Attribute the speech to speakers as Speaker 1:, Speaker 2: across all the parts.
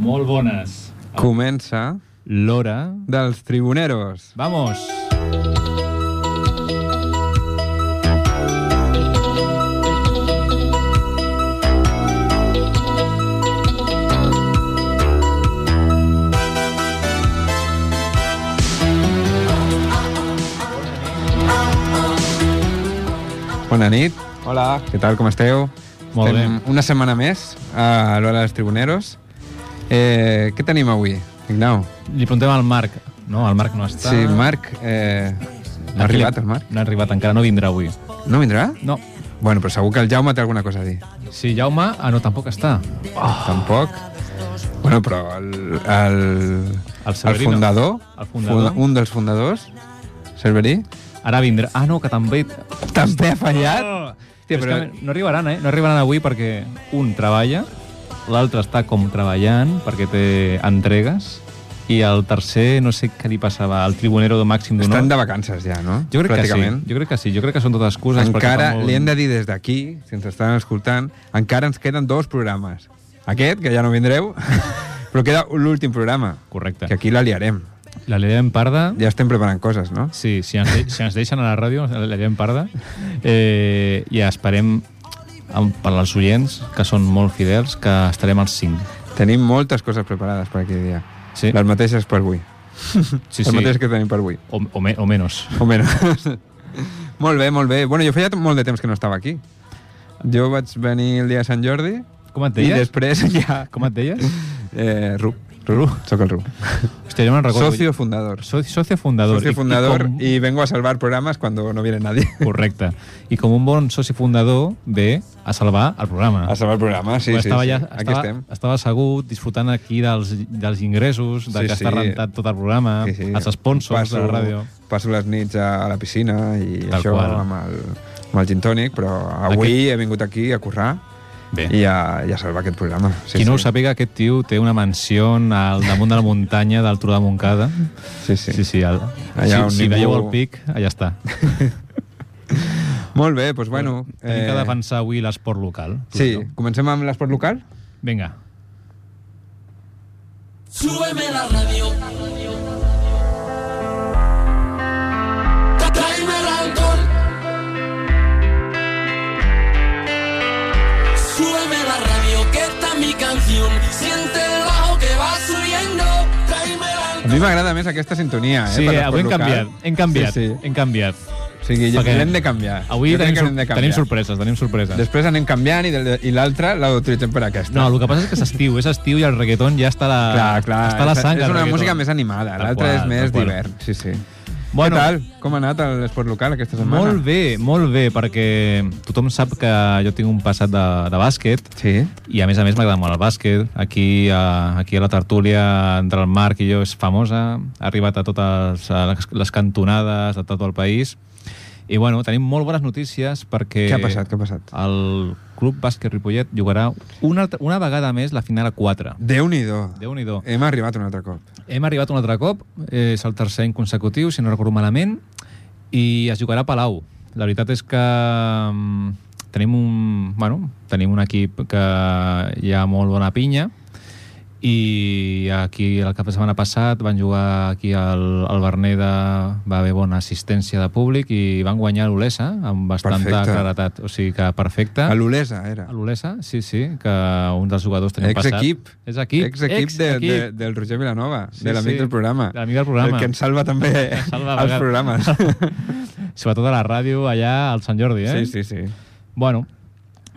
Speaker 1: molt bones.
Speaker 2: Comença
Speaker 1: L'hora...
Speaker 2: dels tribuneros.
Speaker 1: Vamos!
Speaker 2: Bona nit,
Speaker 3: Hola.
Speaker 2: què tal, com esteu?
Speaker 1: Molt
Speaker 2: Estem
Speaker 1: bé.
Speaker 2: una setmana més a l'hora dels tribuneros. Eh, què tenim avui, Ignau?
Speaker 1: Li preguntem al Marc. No, el Marc no està.
Speaker 2: Sí, Marc... Eh, no ha
Speaker 1: Aquí li-
Speaker 2: arribat, el Marc?
Speaker 1: No ha arribat, encara no vindrà avui.
Speaker 2: No vindrà?
Speaker 1: No.
Speaker 2: Bueno, però segur que el Jaume té alguna cosa a dir.
Speaker 1: Sí, Jaume, ah, no, tampoc està. Oh.
Speaker 2: Tampoc. Bueno, però el, el,
Speaker 1: El Severino.
Speaker 2: fundador,
Speaker 1: El fundador.
Speaker 2: funda- un dels fundadors, Cerverí,
Speaker 1: Ara vindrà... Ah, no, que també...
Speaker 2: també ha fallat.
Speaker 1: Oh!
Speaker 2: Hòstia,
Speaker 1: però...
Speaker 2: però-
Speaker 1: és que no arribaran, eh? No arribaran avui perquè un treballa, l'altre està com treballant perquè té entregues i el tercer, no sé què li passava, el tribunero de màxim d'honor.
Speaker 2: Estan de vacances ja, no?
Speaker 1: Jo crec que sí,
Speaker 2: Pràcticament.
Speaker 1: jo crec que sí, jo crec que són totes excuses. perquè
Speaker 2: Encara,
Speaker 1: fa
Speaker 2: li hem de dir des d'aquí, si ens estan escoltant, encara ens queden dos programes. Aquest, que ja no vindreu, però queda l'últim programa,
Speaker 1: Correcte.
Speaker 2: que aquí la liarem.
Speaker 1: La Lilian Parda...
Speaker 2: Ja estem preparant coses, no?
Speaker 1: Sí, si ens, de, si ens deixen a la ràdio, la Lilian Parda. Eh, I esperem amb, per als oients, que són molt fidels, que estarem als 5.
Speaker 2: Tenim moltes coses preparades per aquell dia.
Speaker 1: Sí,
Speaker 2: Les mateixes per avui.
Speaker 1: sí,
Speaker 2: Les
Speaker 1: sí.
Speaker 2: mateixes que tenim per avui.
Speaker 1: O, o, me, o menos.
Speaker 2: O menys. molt bé, molt bé. Bueno, jo feia molt de temps que no estava aquí. Jo vaig venir el dia de Sant Jordi
Speaker 1: Com et
Speaker 2: i
Speaker 1: deies?
Speaker 2: després ja...
Speaker 1: Com et deies?
Speaker 2: Eh, Ru. Ru. Soc el Ru.
Speaker 1: Hòstia, jo me'n recordo.
Speaker 2: Socio fundador.
Speaker 1: So- socio fundador.
Speaker 2: Socio fundador
Speaker 1: com-
Speaker 2: y, vengo a salvar programas cuando no viene nadie.
Speaker 1: Correcte. I com un bon soci fundador ve a salvar el programa.
Speaker 2: A salvar programas, Ah, sí,
Speaker 1: Però
Speaker 2: sí,
Speaker 1: estava,
Speaker 2: sí.
Speaker 1: ja,
Speaker 2: Aquí
Speaker 1: estava,
Speaker 2: estem.
Speaker 1: estava assegut, disfrutant aquí dels, dels ingressos, de
Speaker 2: Sí,
Speaker 1: sí, que està
Speaker 2: sí.
Speaker 1: rentat tot el programa, sí, sí. els sponsors
Speaker 2: passo,
Speaker 1: de la ràdio.
Speaker 2: Passo les nits a la piscina i
Speaker 1: Tal
Speaker 2: això
Speaker 1: qual.
Speaker 2: amb el, amb el gin tònic, però avui he vingut aquí a currar
Speaker 1: Bé,
Speaker 2: i a, i a salvar aquest programa.
Speaker 1: sí, qui no ho sàpiga, aquest tio té una mansió al damunt de la muntanya del Tro de Montcada.
Speaker 2: Sí, sí.
Speaker 1: Sí, sí, sí el,
Speaker 2: Allà on
Speaker 1: si, si
Speaker 2: ningú-
Speaker 1: veieu el pic, allà està.
Speaker 2: Molt bé, doncs bueno...
Speaker 1: Tenim que defensar avui l'esport local. tu,
Speaker 2: sí,
Speaker 1: no?
Speaker 2: comencem amb l'esport local?
Speaker 1: Vinga.
Speaker 4: Súbeme la radio. Tra- Tráeme el alcohol. Súbeme la radio, que esta es mi canción. Siente el bajo que va subiendo. Tráeme el
Speaker 2: A mi m'agrada més aquesta sintonia, eh?
Speaker 1: Sí,
Speaker 2: per l'esport
Speaker 1: avui hem
Speaker 2: local.
Speaker 1: canviat, hem canviat,
Speaker 2: Sí, sí.
Speaker 1: hem canviat.
Speaker 2: O sigui,
Speaker 1: Perquè
Speaker 2: l'hem de canviar.
Speaker 1: Avui
Speaker 2: Jo crec
Speaker 1: tenim,
Speaker 2: que l'hem de
Speaker 1: sur
Speaker 2: canviar.
Speaker 1: tenim sorpreses, tenim sorpreses.
Speaker 2: Després anem canviant i, de- i l'altra la utilitzem per aquesta.
Speaker 1: No, el que passa és que és estiu, és estiu i el reggaeton ja està a la,
Speaker 2: Clar, clar.
Speaker 1: està a Ah, la
Speaker 2: és-
Speaker 1: sang.
Speaker 2: És
Speaker 1: el
Speaker 2: una
Speaker 1: reggaeton.
Speaker 2: música més animada,
Speaker 1: Tal
Speaker 2: l'altra és
Speaker 1: qual,
Speaker 2: més
Speaker 1: tal qual.
Speaker 2: d'hivern. Sí, sí.
Speaker 1: Bueno.
Speaker 2: Què tal? Com ha anat l'esport local aquesta setmana?
Speaker 1: Molt bé, molt bé, perquè tothom sap que jo tinc un passat de, de bàsquet
Speaker 2: Sí.
Speaker 1: i a més a més m'agrada molt el bàsquet. Aquí a, aquí a la tertúlia entre el Marc i jo és famosa, ha arribat a totes a les, les cantonades de tot el país. I bueno, tenim molt bones notícies perquè...
Speaker 2: Què ha passat? Què ha passat?
Speaker 1: El Club Bàsquet Ripollet jugarà una, altra- una vegada més la final a 4.
Speaker 2: Déu-n'hi-do.
Speaker 1: Déu-n'hi-do.
Speaker 2: Hem arribat un altre cop.
Speaker 1: Hem arribat un altre cop, eh, és el tercer any consecutiu, si no recordo malament, i es jugarà a Palau. La veritat és que mm, tenim un, bueno, tenim un equip que hi ha molt bona pinya, i aquí el cap de setmana passat van jugar aquí al, al Berneda va haver bona assistència de públic i van guanyar l'Olesa amb bastanta
Speaker 2: Perfecte.
Speaker 1: claretat, o sigui que perfecte
Speaker 2: A l'Olesa, era.
Speaker 1: a l'Olesa, sí, sí, que un dels jugadors tenia passat
Speaker 2: Ex-equip.
Speaker 1: és equip,
Speaker 2: Ex-equip de, de, del Roger Vilanova,
Speaker 1: Sí,
Speaker 2: de l'amic
Speaker 1: sí.
Speaker 2: del programa.
Speaker 1: De l'amic del programa.
Speaker 2: El que ens salva també
Speaker 1: salva a
Speaker 2: els
Speaker 1: vegades.
Speaker 2: programes.
Speaker 1: Sobretot a la ràdio allà al Sant Jordi, eh?
Speaker 2: sí, sí, sí.
Speaker 1: Bueno,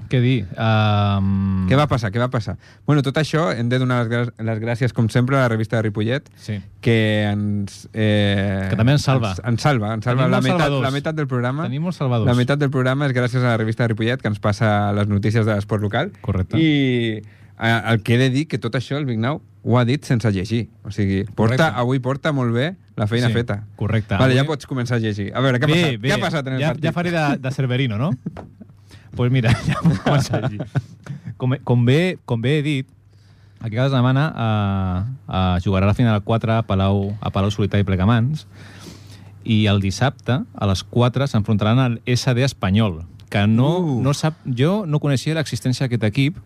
Speaker 1: què dir? Um...
Speaker 2: Què va passar? Què va passar? Bueno, tot això hem de donar les, grà- les gràcies, com sempre, a la revista de Ripollet,
Speaker 1: Sí.
Speaker 2: que ens... Eh,
Speaker 1: Que també ens salva.
Speaker 2: Ens, ens salva, ens salva.
Speaker 1: Tenim
Speaker 2: La
Speaker 1: molts
Speaker 2: meitat,
Speaker 1: salvadors.
Speaker 2: la meitat del programa...
Speaker 1: Tenim molts salvadors.
Speaker 2: La meitat del programa és gràcies a la revista de Ripollet, que ens passa les notícies de l'esport local.
Speaker 1: Correcte.
Speaker 2: I eh, el que he de dir, que tot això el Vignau ho ha dit sense llegir. O sigui, porta,
Speaker 1: Correcte.
Speaker 2: avui porta molt bé la feina
Speaker 1: Sí,
Speaker 2: feta.
Speaker 1: correcte.
Speaker 2: Vale, ja
Speaker 1: Avui-
Speaker 2: pots començar a llegir. A veure, què ha passat? Què ha passat en el
Speaker 1: ja,
Speaker 2: partit?
Speaker 1: Ja faré de, de Cerverino, no? pues mira, ja puc començar allí. Com, com, bé, com bé he dit, aquí cada setmana eh, eh, jugarà la final 4 a Palau, a Palau Solità i Plegamans i el dissabte a les 4 s'enfrontaran al SD Espanyol que no,
Speaker 2: Uh.
Speaker 1: no sap, jo no coneixia l'existència d'aquest equip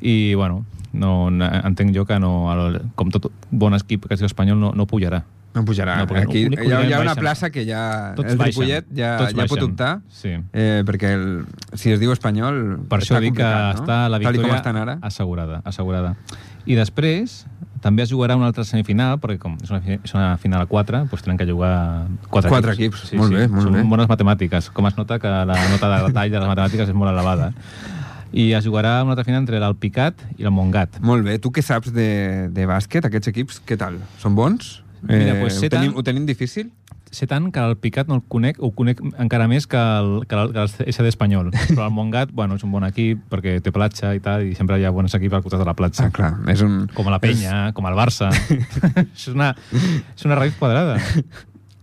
Speaker 1: i bueno, no, no, entenc jo que no, el, com tot bon equip que és espanyol no, no pujarà.
Speaker 2: No pujarà.
Speaker 1: No,
Speaker 2: No,
Speaker 1: perquè
Speaker 2: Aquí
Speaker 1: únic-
Speaker 2: hi ha, hi ha una
Speaker 1: baixen.
Speaker 2: plaça que ja...
Speaker 1: Tots
Speaker 2: el
Speaker 1: baixen,
Speaker 2: Ripollet ja,
Speaker 1: tots
Speaker 2: ja pot
Speaker 1: baixen.
Speaker 2: optar,
Speaker 1: Sí.
Speaker 2: eh, perquè el, si es diu espanyol...
Speaker 1: Per
Speaker 2: està
Speaker 1: això dic que
Speaker 2: complicat, no?
Speaker 1: està la
Speaker 2: Tal i com
Speaker 1: victòria
Speaker 2: estan ara.
Speaker 1: assegurada, assegurada. I després també es jugarà una altra semifinal, perquè com és una, fi- és una final a 4, doncs tenen que jugar 4
Speaker 2: Quatre equips. Molt bé, molt
Speaker 1: Són
Speaker 2: bé.
Speaker 1: bones matemàtiques. Com es nota que la nota de detall de les matemàtiques és molt elevada. I es jugarà una altra final entre l'Alpicat i el Montgat.
Speaker 2: Molt bé. Tu què saps de, de bàsquet? Aquests equips, què tal? Són bons? Eh,
Speaker 1: Mira, pues,
Speaker 2: ho,
Speaker 1: Setan-
Speaker 2: tenim, ho tenim difícil?
Speaker 1: Sé tant que l'Alpicat no el conec, ho conec encara més que el, que el, que el SD espanyol. Però el Montgat, bueno, és un bon equip perquè té platja i tal, i sempre hi ha bons equips al costat de la platja.
Speaker 2: Ah, clar. És un...
Speaker 1: Com a la penya, com al Barça. és, una, és una raïs quadrada.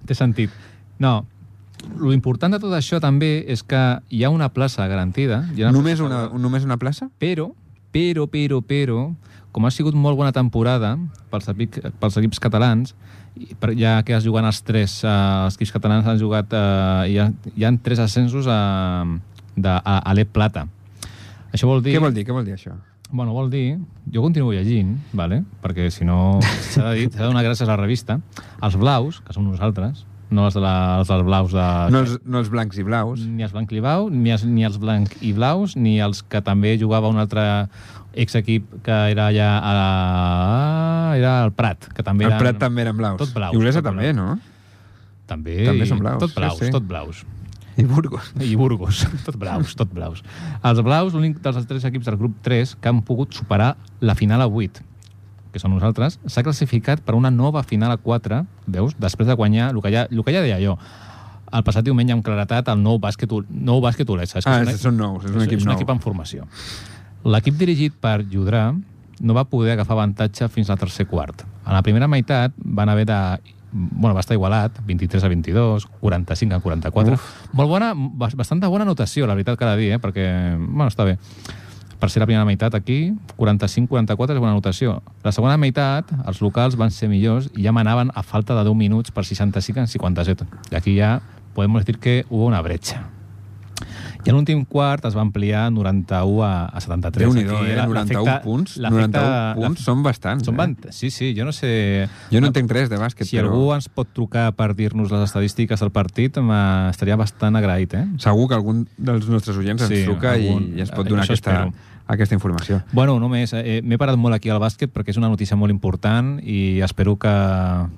Speaker 1: Té sentit. No, l'important de tot això també és que hi ha una plaça garantida. Hi ha una
Speaker 2: Només
Speaker 1: plaça
Speaker 2: una,
Speaker 1: garantida.
Speaker 2: només una plaça?
Speaker 1: Però, però, però, però, com ha sigut molt bona temporada pels, epic, pels equips catalans, i per, ja que es juguen els tres, eh, els equips catalans han jugat, eh, hi, ha, hi ha tres ascensos a, de, a, a l'E Plata. Això vol dir...
Speaker 2: Què vol dir? Què vol dir això?
Speaker 1: Bueno, vol dir... Jo continuo llegint, vale? perquè si no s'ha de, dir, s'ha de donar gràcies a la revista. Els blaus, que som nosaltres, no els, de la, els dels blaus de...
Speaker 2: No els, no els blancs i blaus.
Speaker 1: Ni els blanc i blau, ni els, ni els blanc i blaus, ni els que també jugava un altre exequip que era allà a... Era el Prat, que també
Speaker 2: El
Speaker 1: eren-
Speaker 2: Prat també eren blaus.
Speaker 1: Tot blaus,
Speaker 2: I Olesa
Speaker 1: tot
Speaker 2: també, no?
Speaker 1: També,
Speaker 2: també són blaus,
Speaker 1: Tot
Speaker 2: sí,
Speaker 1: blaus,
Speaker 2: sí.
Speaker 1: tot blaus.
Speaker 2: I Burgos.
Speaker 1: I Burgos, tot blaus, tot blaus. Els blaus, l'únic dels tres equips del grup 3 que han pogut superar la final a 8, que són nosaltres, s'ha classificat per una nova final a 4, veus, després de guanyar el que ja, el que ja deia jo, el passat diumenge amb claretat el nou bàsquet, Ol- nou bàsquet Olesa. És que
Speaker 2: Ah,
Speaker 1: és un-
Speaker 2: és, són nous, és un equip
Speaker 1: és un
Speaker 2: nou.
Speaker 1: equip en formació. L'equip dirigit per Judrà no va poder agafar avantatge fins al tercer quart. En la primera meitat van haver de... Bueno, va estar igualat, 23 a 22, 45 a 44. Uf. Molt bona, bas- bastanta bona notació, la veritat, cada dia, eh? perquè, bueno, està bé. Per ser la primera meitat aquí, 45-44 és bona notació. La segona meitat, els locals van ser millors i ja manaven a falta de 10 minuts per 65 en 57. I aquí ja podem dir que hubo una bretxa. I en l'últim quart es va ampliar 91 a, a 73.
Speaker 2: Déu-n'hi-do,
Speaker 1: Aquí
Speaker 2: eh?
Speaker 1: la-
Speaker 2: 91
Speaker 1: l'efecte-
Speaker 2: punts.
Speaker 1: l'efecte-
Speaker 2: 91 punts són bastants.
Speaker 1: Són
Speaker 2: eh?
Speaker 1: van... Sí, sí, jo no sé...
Speaker 2: Jo no entenc res de bàsquet,
Speaker 1: Si
Speaker 2: però...
Speaker 1: algú ens pot trucar per dir-nos les estadístiques del partit, m'ha- estaria bastant agraït, eh?
Speaker 2: Segur que algun dels nostres oients ens
Speaker 1: Sí,
Speaker 2: truca
Speaker 1: algun-
Speaker 2: i, i ens pot donar
Speaker 1: això
Speaker 2: aquesta,
Speaker 1: espero.
Speaker 2: aquesta informació.
Speaker 1: Bueno, només, eh, m'he parat molt aquí al bàsquet perquè és una notícia molt important i espero que,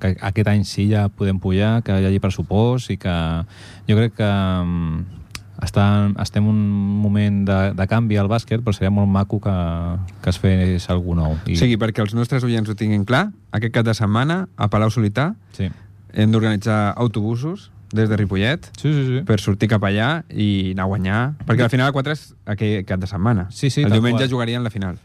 Speaker 1: que aquest any sí ja podem pujar, que hi hagi pressupost i que jo crec que mm, està, estem en un moment de, de canvi al bàsquet, però seria molt maco que, que es fes algú nou.
Speaker 2: O sigui, perquè els nostres oients ho tinguin clar, aquest cap de setmana, a Palau Solità,
Speaker 1: Sí,
Speaker 2: hem d'organitzar autobusos des de Ripollet
Speaker 1: sí, sí. sí.
Speaker 2: per sortir cap allà i anar a guanyar. Perquè la final a 4 és aquell cap de setmana.
Speaker 1: Sí, sí,
Speaker 2: el
Speaker 1: tal
Speaker 2: diumenge
Speaker 1: qual.
Speaker 2: jugarien la final,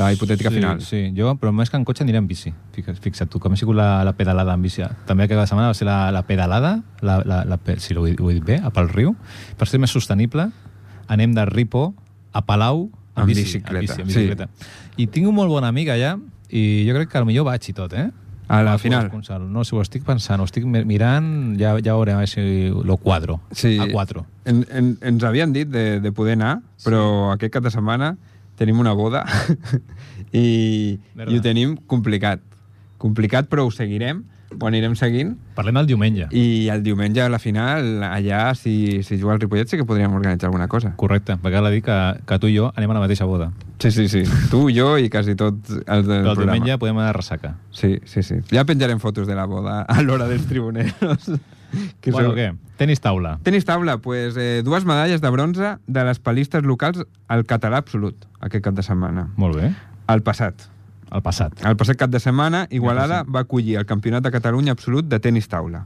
Speaker 2: la hipotètica
Speaker 1: sí,
Speaker 2: final.
Speaker 1: Sí, jo, però més que en cotxe aniré en bici. Fixa't, fixa't tu, com ha sigut la, la pedalada en bici. També aquesta setmana va ser la, la pedalada, la, la, la, pe- si ho he, ho he dit bé, a pel riu. Per ser més sostenible, anem de Ripo a Palau en,
Speaker 2: En
Speaker 1: bici, En
Speaker 2: bicicleta,
Speaker 1: bici, en
Speaker 2: sí.
Speaker 1: bicicleta. I tinc un molt bon amic allà i jo crec que potser vaig i tot, eh?
Speaker 2: A la
Speaker 1: Paco
Speaker 2: final.
Speaker 1: Esponsal. No, si ho estic pensant, ho estic mi- mirant, ja, ja veurem a veure si lo quadro.
Speaker 2: Sí.
Speaker 1: A quatro.
Speaker 2: En, en, ens havien dit de, de poder anar, però aquest cap de setmana tenim una boda i,
Speaker 1: Merda.
Speaker 2: i ho tenim complicat. Complicat, però ho seguirem, ho anirem seguint.
Speaker 1: Parlem del diumenge.
Speaker 2: I el diumenge a la final, allà, si, si juga el Ripollet, sí que podríem organitzar alguna cosa.
Speaker 1: Correcte, perquè cal dir que, que tu i jo anem a la mateixa boda.
Speaker 2: Sí, sí, sí. Tu, jo i quasi tots els del
Speaker 1: Però el
Speaker 2: programa.
Speaker 1: diumenge podem anar a ressaca.
Speaker 2: Sí, sí, sí. Ja penjarem fotos de la boda a l'hora dels tribuneros.
Speaker 1: Que bueno,
Speaker 2: sou-
Speaker 1: què? Tenis taula.
Speaker 2: Tenis taula, pues, eh, dues medalles de bronze de les palistes locals al català absolut aquest cap de setmana.
Speaker 1: Molt bé.
Speaker 2: El passat.
Speaker 1: El passat.
Speaker 2: El passat cap de setmana, Igualada va acollir el Campionat de Catalunya Absolut de Tenis Taula.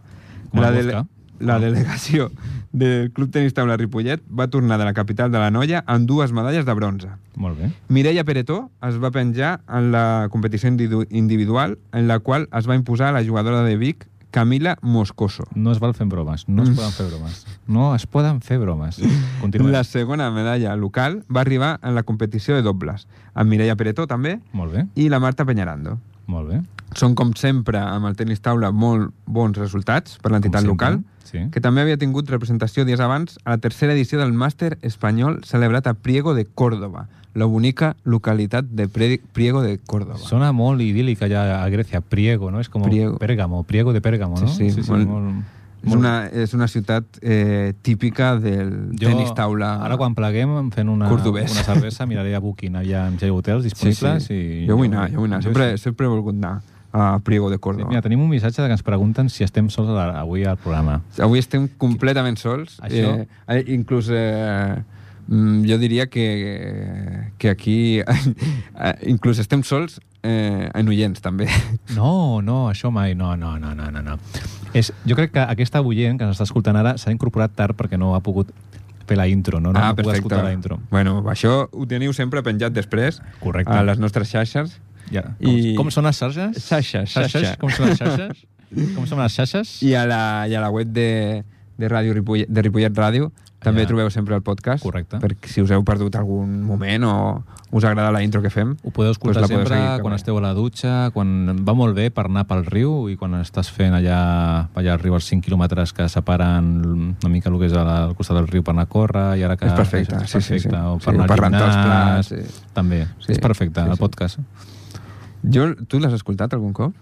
Speaker 1: Com
Speaker 2: la,
Speaker 1: es
Speaker 2: dele
Speaker 1: busca.
Speaker 2: la delegació del Club Tenis Taula Ripollet va tornar de la capital de la Noia amb dues medalles de bronze.
Speaker 1: Molt bé.
Speaker 2: Mireia Peretó es va penjar en la competició individu- individual en la qual es va imposar la jugadora de Vic, Camila Moscoso.
Speaker 1: No es val fent bromes. No es poden fer bromes. No es poden fer bromes. Continuem.
Speaker 2: La
Speaker 1: Les...
Speaker 2: segona medalla local va arribar en la competició de dobles, amb Mireia Peretó també
Speaker 1: Molt bé.
Speaker 2: i la Marta Peñarando.
Speaker 1: Molt bé.
Speaker 2: Són, com sempre, amb el tenis taula, molt bons resultats per l'entitat
Speaker 1: sempre,
Speaker 2: local,
Speaker 1: sí.
Speaker 2: que també havia tingut representació dies abans a la tercera edició del Màster Espanyol celebrat a Priego de Córdoba, la bonica localitat de Pre- Priego de Córdoba.
Speaker 1: Sona molt idíl·lica ja a Grècia, Priego, no? És com
Speaker 2: Priego.
Speaker 1: Pèrgamo, Priego de Pèrgamo, no?
Speaker 2: Sí, sí, molt- és, una, és una ciutat eh, típica del
Speaker 1: Jo,
Speaker 2: tenis taula.
Speaker 1: Ara quan pleguem, fent una,
Speaker 2: Cordobès.
Speaker 1: una cervesa, miraré a Booking, allà amb Jay Hotels
Speaker 2: Sí, sí.
Speaker 1: disponibles. I
Speaker 2: Jo vull anar, jo vull anar. Sempre, sempre he volgut anar a Priego de
Speaker 1: Sí,
Speaker 2: Córdoba.
Speaker 1: Mira, tenim un missatge que ens pregunten si estem sols a la- avui al programa.
Speaker 2: Avui estem completament sols.
Speaker 1: Això-
Speaker 2: Eh, inclús eh, mm, jo diria que, que aquí eh, inclús estem sols eh, en oients, també.
Speaker 1: No, no, això mai, no, no, no, no, no. no. És, jo crec que aquesta oient que ens està escoltant ara s'ha incorporat tard perquè no ha pogut fer la intro, no? no ha pogut escoltar la intro.
Speaker 2: Ah, Bueno, això ho teniu sempre penjat després
Speaker 1: Correcte.
Speaker 2: a Ah, les nostres xarxes.
Speaker 1: Ja. Com,
Speaker 2: I-
Speaker 1: I... com són les xarxes?
Speaker 2: Xarxes, xarxa.
Speaker 1: Com són les xarxes? com són les xarxes?
Speaker 2: I a la, i a la web de, de, Ràdio Ripollet, de Ripollet Ràdio també
Speaker 1: Allà.
Speaker 2: trobeu sempre el podcast.
Speaker 1: Correcte.
Speaker 2: Perquè si us heu perdut algun moment o us agrada la intro que fem...
Speaker 1: Ho podeu escoltar
Speaker 2: doncs la
Speaker 1: pues sempre
Speaker 2: seguir
Speaker 1: quan
Speaker 2: també.
Speaker 1: esteu a la dutxa, quan va molt bé per anar pel riu i quan estàs fent allà, allà al riu els 5 quilòmetres que separen una mica el que és al costat del riu per anar a córrer i ara que...
Speaker 2: És perfecte,
Speaker 1: és
Speaker 2: sí, sí, sí.
Speaker 1: O
Speaker 2: Sí,
Speaker 1: per anar
Speaker 2: per
Speaker 1: al
Speaker 2: rentar els
Speaker 1: gimnàs,
Speaker 2: plats, sí.
Speaker 1: També,
Speaker 2: Sí,
Speaker 1: sí, és perfecte,
Speaker 2: sí,
Speaker 1: sí,
Speaker 2: sí.
Speaker 1: el podcast.
Speaker 2: Jo, tu l'has escoltat algun cop?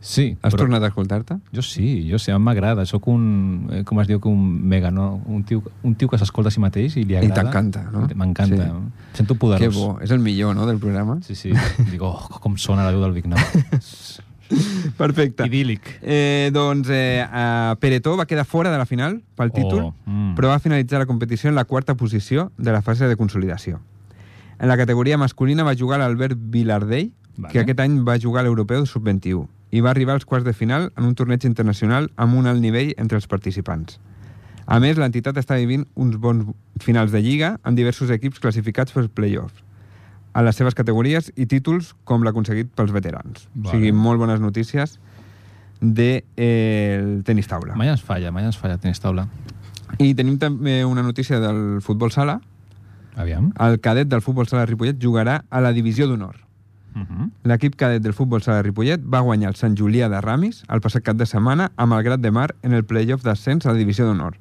Speaker 1: Sí,
Speaker 2: Has Però... tornat a escoltar-te?
Speaker 1: Jo sí, jo sé, a mi m'agrada. Soc un, eh, com es diu, que un mega, no? Un tio, un tio que s'escolta a si mateix i li
Speaker 2: I
Speaker 1: agrada.
Speaker 2: t'encanta, no?
Speaker 1: M'encanta.
Speaker 2: Sí.
Speaker 1: Sí. Sento poderós.
Speaker 2: Que bo, és el millor, no?, del programa.
Speaker 1: Sí, sí. Dic, oh, com sona la veu del Big Now.
Speaker 2: Perfecte.
Speaker 1: Idíl·lic.
Speaker 2: Eh, doncs eh, eh, Peretó va quedar fora de la final pel
Speaker 1: Oh,
Speaker 2: títol,
Speaker 1: mm.
Speaker 2: però va finalitzar la competició en la quarta posició de la fase de consolidació. En la categoria masculina va jugar l'Albert Vilardell,
Speaker 1: Vale.
Speaker 2: que aquest any va jugar a l'Europeu Sub-21 i va arribar als quarts de final en un torneig internacional amb un alt nivell entre els participants. A més, l'entitat està vivint uns bons finals de Lliga amb diversos equips classificats pels play-offs a les seves categories i títols com l'aconseguit pels veterans. Vale. O
Speaker 1: Vale.
Speaker 2: sigui, molt bones notícies del de, eh, el tenis taula.
Speaker 1: Mai ens falla, mai ens falla, tens taula.
Speaker 2: I tenim també una notícia del futbol sala.
Speaker 1: Aviam.
Speaker 2: El cadet del futbol sala de Ripollet jugarà a la divisió d'honor.
Speaker 1: Uh -huh.
Speaker 2: L'equip cadet del futbol sala de Ripollet va guanyar el Sant Julià de Ramis el passat cap de setmana amb el Grat de Mar en el playoff d'ascens a la divisió d'honor.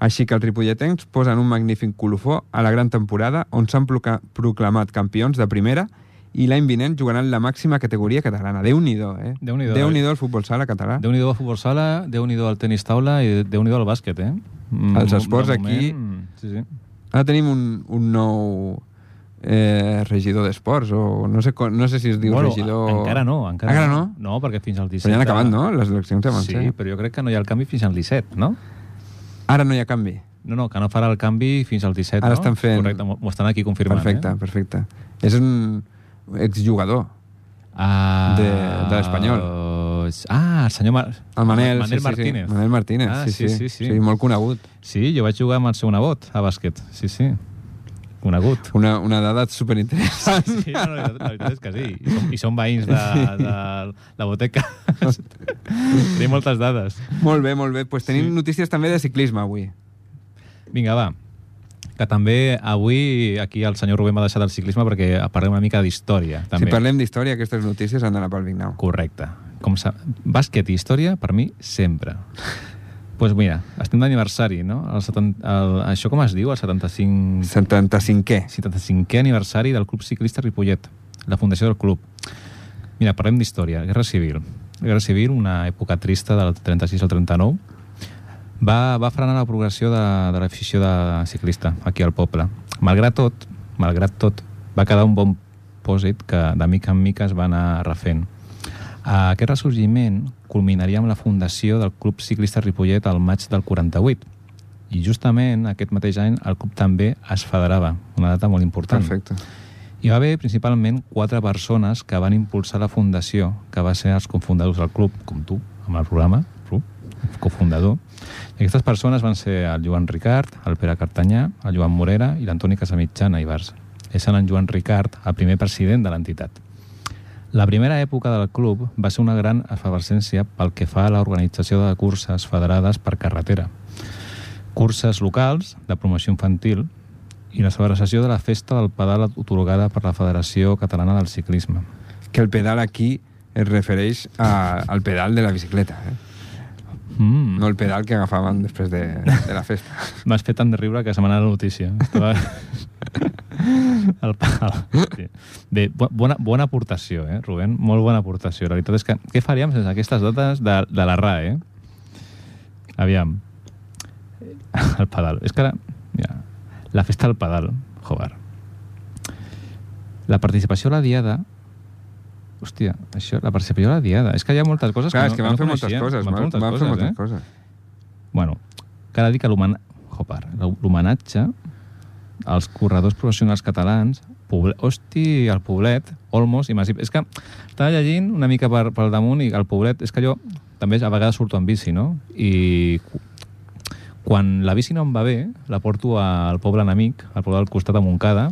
Speaker 2: Així que els ripolletens posen un magnífic colofó a la gran temporada on s'han proca- proclamat campions de primera i l'any vinent jugaran la màxima categoria catalana. Déu-n'hi-do, eh?
Speaker 1: Déu-n'hi-do.
Speaker 2: Déu-n'hi-do el futbol sala català.
Speaker 1: déu nhi al futbol sala, déu-n'hi-do al tenis taula i déu-n'hi-do al bàsquet, eh? Mm,
Speaker 2: Els
Speaker 1: de
Speaker 2: esports aquí-
Speaker 1: moment, Sí, sí.
Speaker 2: Ara tenim un, un nou eh, regidor d'esports, o no sé, com- no sé si es diu
Speaker 1: bueno,
Speaker 2: regidor...
Speaker 1: encara no. Encara,
Speaker 2: Encara no?
Speaker 1: No, perquè fins al 17...
Speaker 2: Però ja han acabat, no?, les eleccions de
Speaker 1: Sí,
Speaker 2: Manse.
Speaker 1: però jo crec que no hi ha el canvi fins al 17, no?
Speaker 2: Ara no hi ha canvi.
Speaker 1: No, no, que no farà el canvi fins al 17, no?
Speaker 2: Ara estan fent-
Speaker 1: Correcte, m'ho- m'ho estan aquí confirmant.
Speaker 2: Perfecte,
Speaker 1: Eh?
Speaker 2: perfecte. És un exjugador.
Speaker 1: Ah,
Speaker 2: De- de l'Espanyol.
Speaker 1: Ah, el senyor... Mar...
Speaker 2: El Manel,
Speaker 1: Manel
Speaker 2: sí,
Speaker 1: Martínez.
Speaker 2: Sí, sí. Manel Martínez,
Speaker 1: Ah,
Speaker 2: sí, sí,
Speaker 1: sí, sí.
Speaker 2: sí. molt conegut.
Speaker 1: Sí, jo vaig jugar amb el seu nebot a bàsquet. Sí, sí. Conegut.
Speaker 2: Una, una dada superinteressant.
Speaker 1: Sí, no, no, la veritat- la veritat és que sí. I som, i som veïns de, de la boteca. Tenim moltes dades.
Speaker 2: molt bé, molt bé. Pues tenim sí. notícies també de ciclisme avui.
Speaker 1: Vinga, va. Que també avui aquí el senyor Rubén m'ha deixat el ciclisme perquè parlem una mica d'història. També.
Speaker 2: Si parlem d'història, aquestes notícies han d'anar pel Vignau.
Speaker 1: Correcte. Com sa... Bàsquet i història, per mi, sempre. Doncs pues mira, estem d'aniversari, no? El 70... el... Això com es diu? El 75...
Speaker 2: 75è.
Speaker 1: 75è aniversari del Club Ciclista Ripollet, la fundació del club. Mira, parlem d'història. Guerra Civil. Guerra Civil, una època trista del 36 al 39, va, va frenar la progressió de, de l'afició de ciclista aquí al poble. Malgrat tot, malgrat tot, va quedar un bon pòsit que de mica en mica es va anar refent. Eh, Aquest ressorgiment culminaria amb la fundació del Club Ciclista Ripollet al maig del 48. I justament aquest mateix any el club també es federava, una data molt important.
Speaker 2: Perfecte.
Speaker 1: Hi va haver principalment quatre persones que van impulsar la fundació, que va ser els cofundadors del club, com tu, amb el programa, tu, cofundador. I aquestes persones van ser el Joan Ricard, el Pere Cartanyà, el Joan Morera i l'Antoni Casamitjana Ibars. És en Joan Ricard el primer president de l'entitat. La primera època del club va ser una gran efervescència pel que fa a l'organització de curses federades per carretera, curses locals de promoció infantil i la celebració de la festa del pedal otorgada per la Federació Catalana del Ciclisme.
Speaker 2: Que el pedal aquí es refereix a, al pedal de la bicicleta, eh?
Speaker 1: Mm.
Speaker 2: no el pedal que agafaven després de, de la festa.
Speaker 1: M'has fet tant de riure que se m'ha anat la notícia. Estava... el pal. Sí. Bé, bo- bona, bona aportació, eh, Rubén? Molt bona aportació. La veritat és que què faríem sense aquestes dates de, de la RAE, eh? Aviam. El pedal. És que ara... Mira, la festa del pedal, joder. La participació a la diada... Hòstia, això, la participació a la diada. És que hi ha moltes coses
Speaker 2: Clar, és
Speaker 1: que
Speaker 2: que
Speaker 1: no,
Speaker 2: van
Speaker 1: que
Speaker 2: fer
Speaker 1: no
Speaker 2: moltes
Speaker 1: coneixíem.
Speaker 2: coses,
Speaker 1: Van fer moltes
Speaker 2: van fer
Speaker 1: coses,
Speaker 2: moltes
Speaker 1: eh?
Speaker 2: coses.
Speaker 1: Bueno, cal dir que l'homen- jopar, l'homenatge als corredors professionals catalans, Poble... hosti, el Poblet, Olmos i Masip. És que estava llegint una mica per, per damunt i el Poblet... És que jo també a vegades surto amb bici, no? I cu- quan la bici no em va bé, la porto al poble enemic, al poble del costat de Montcada,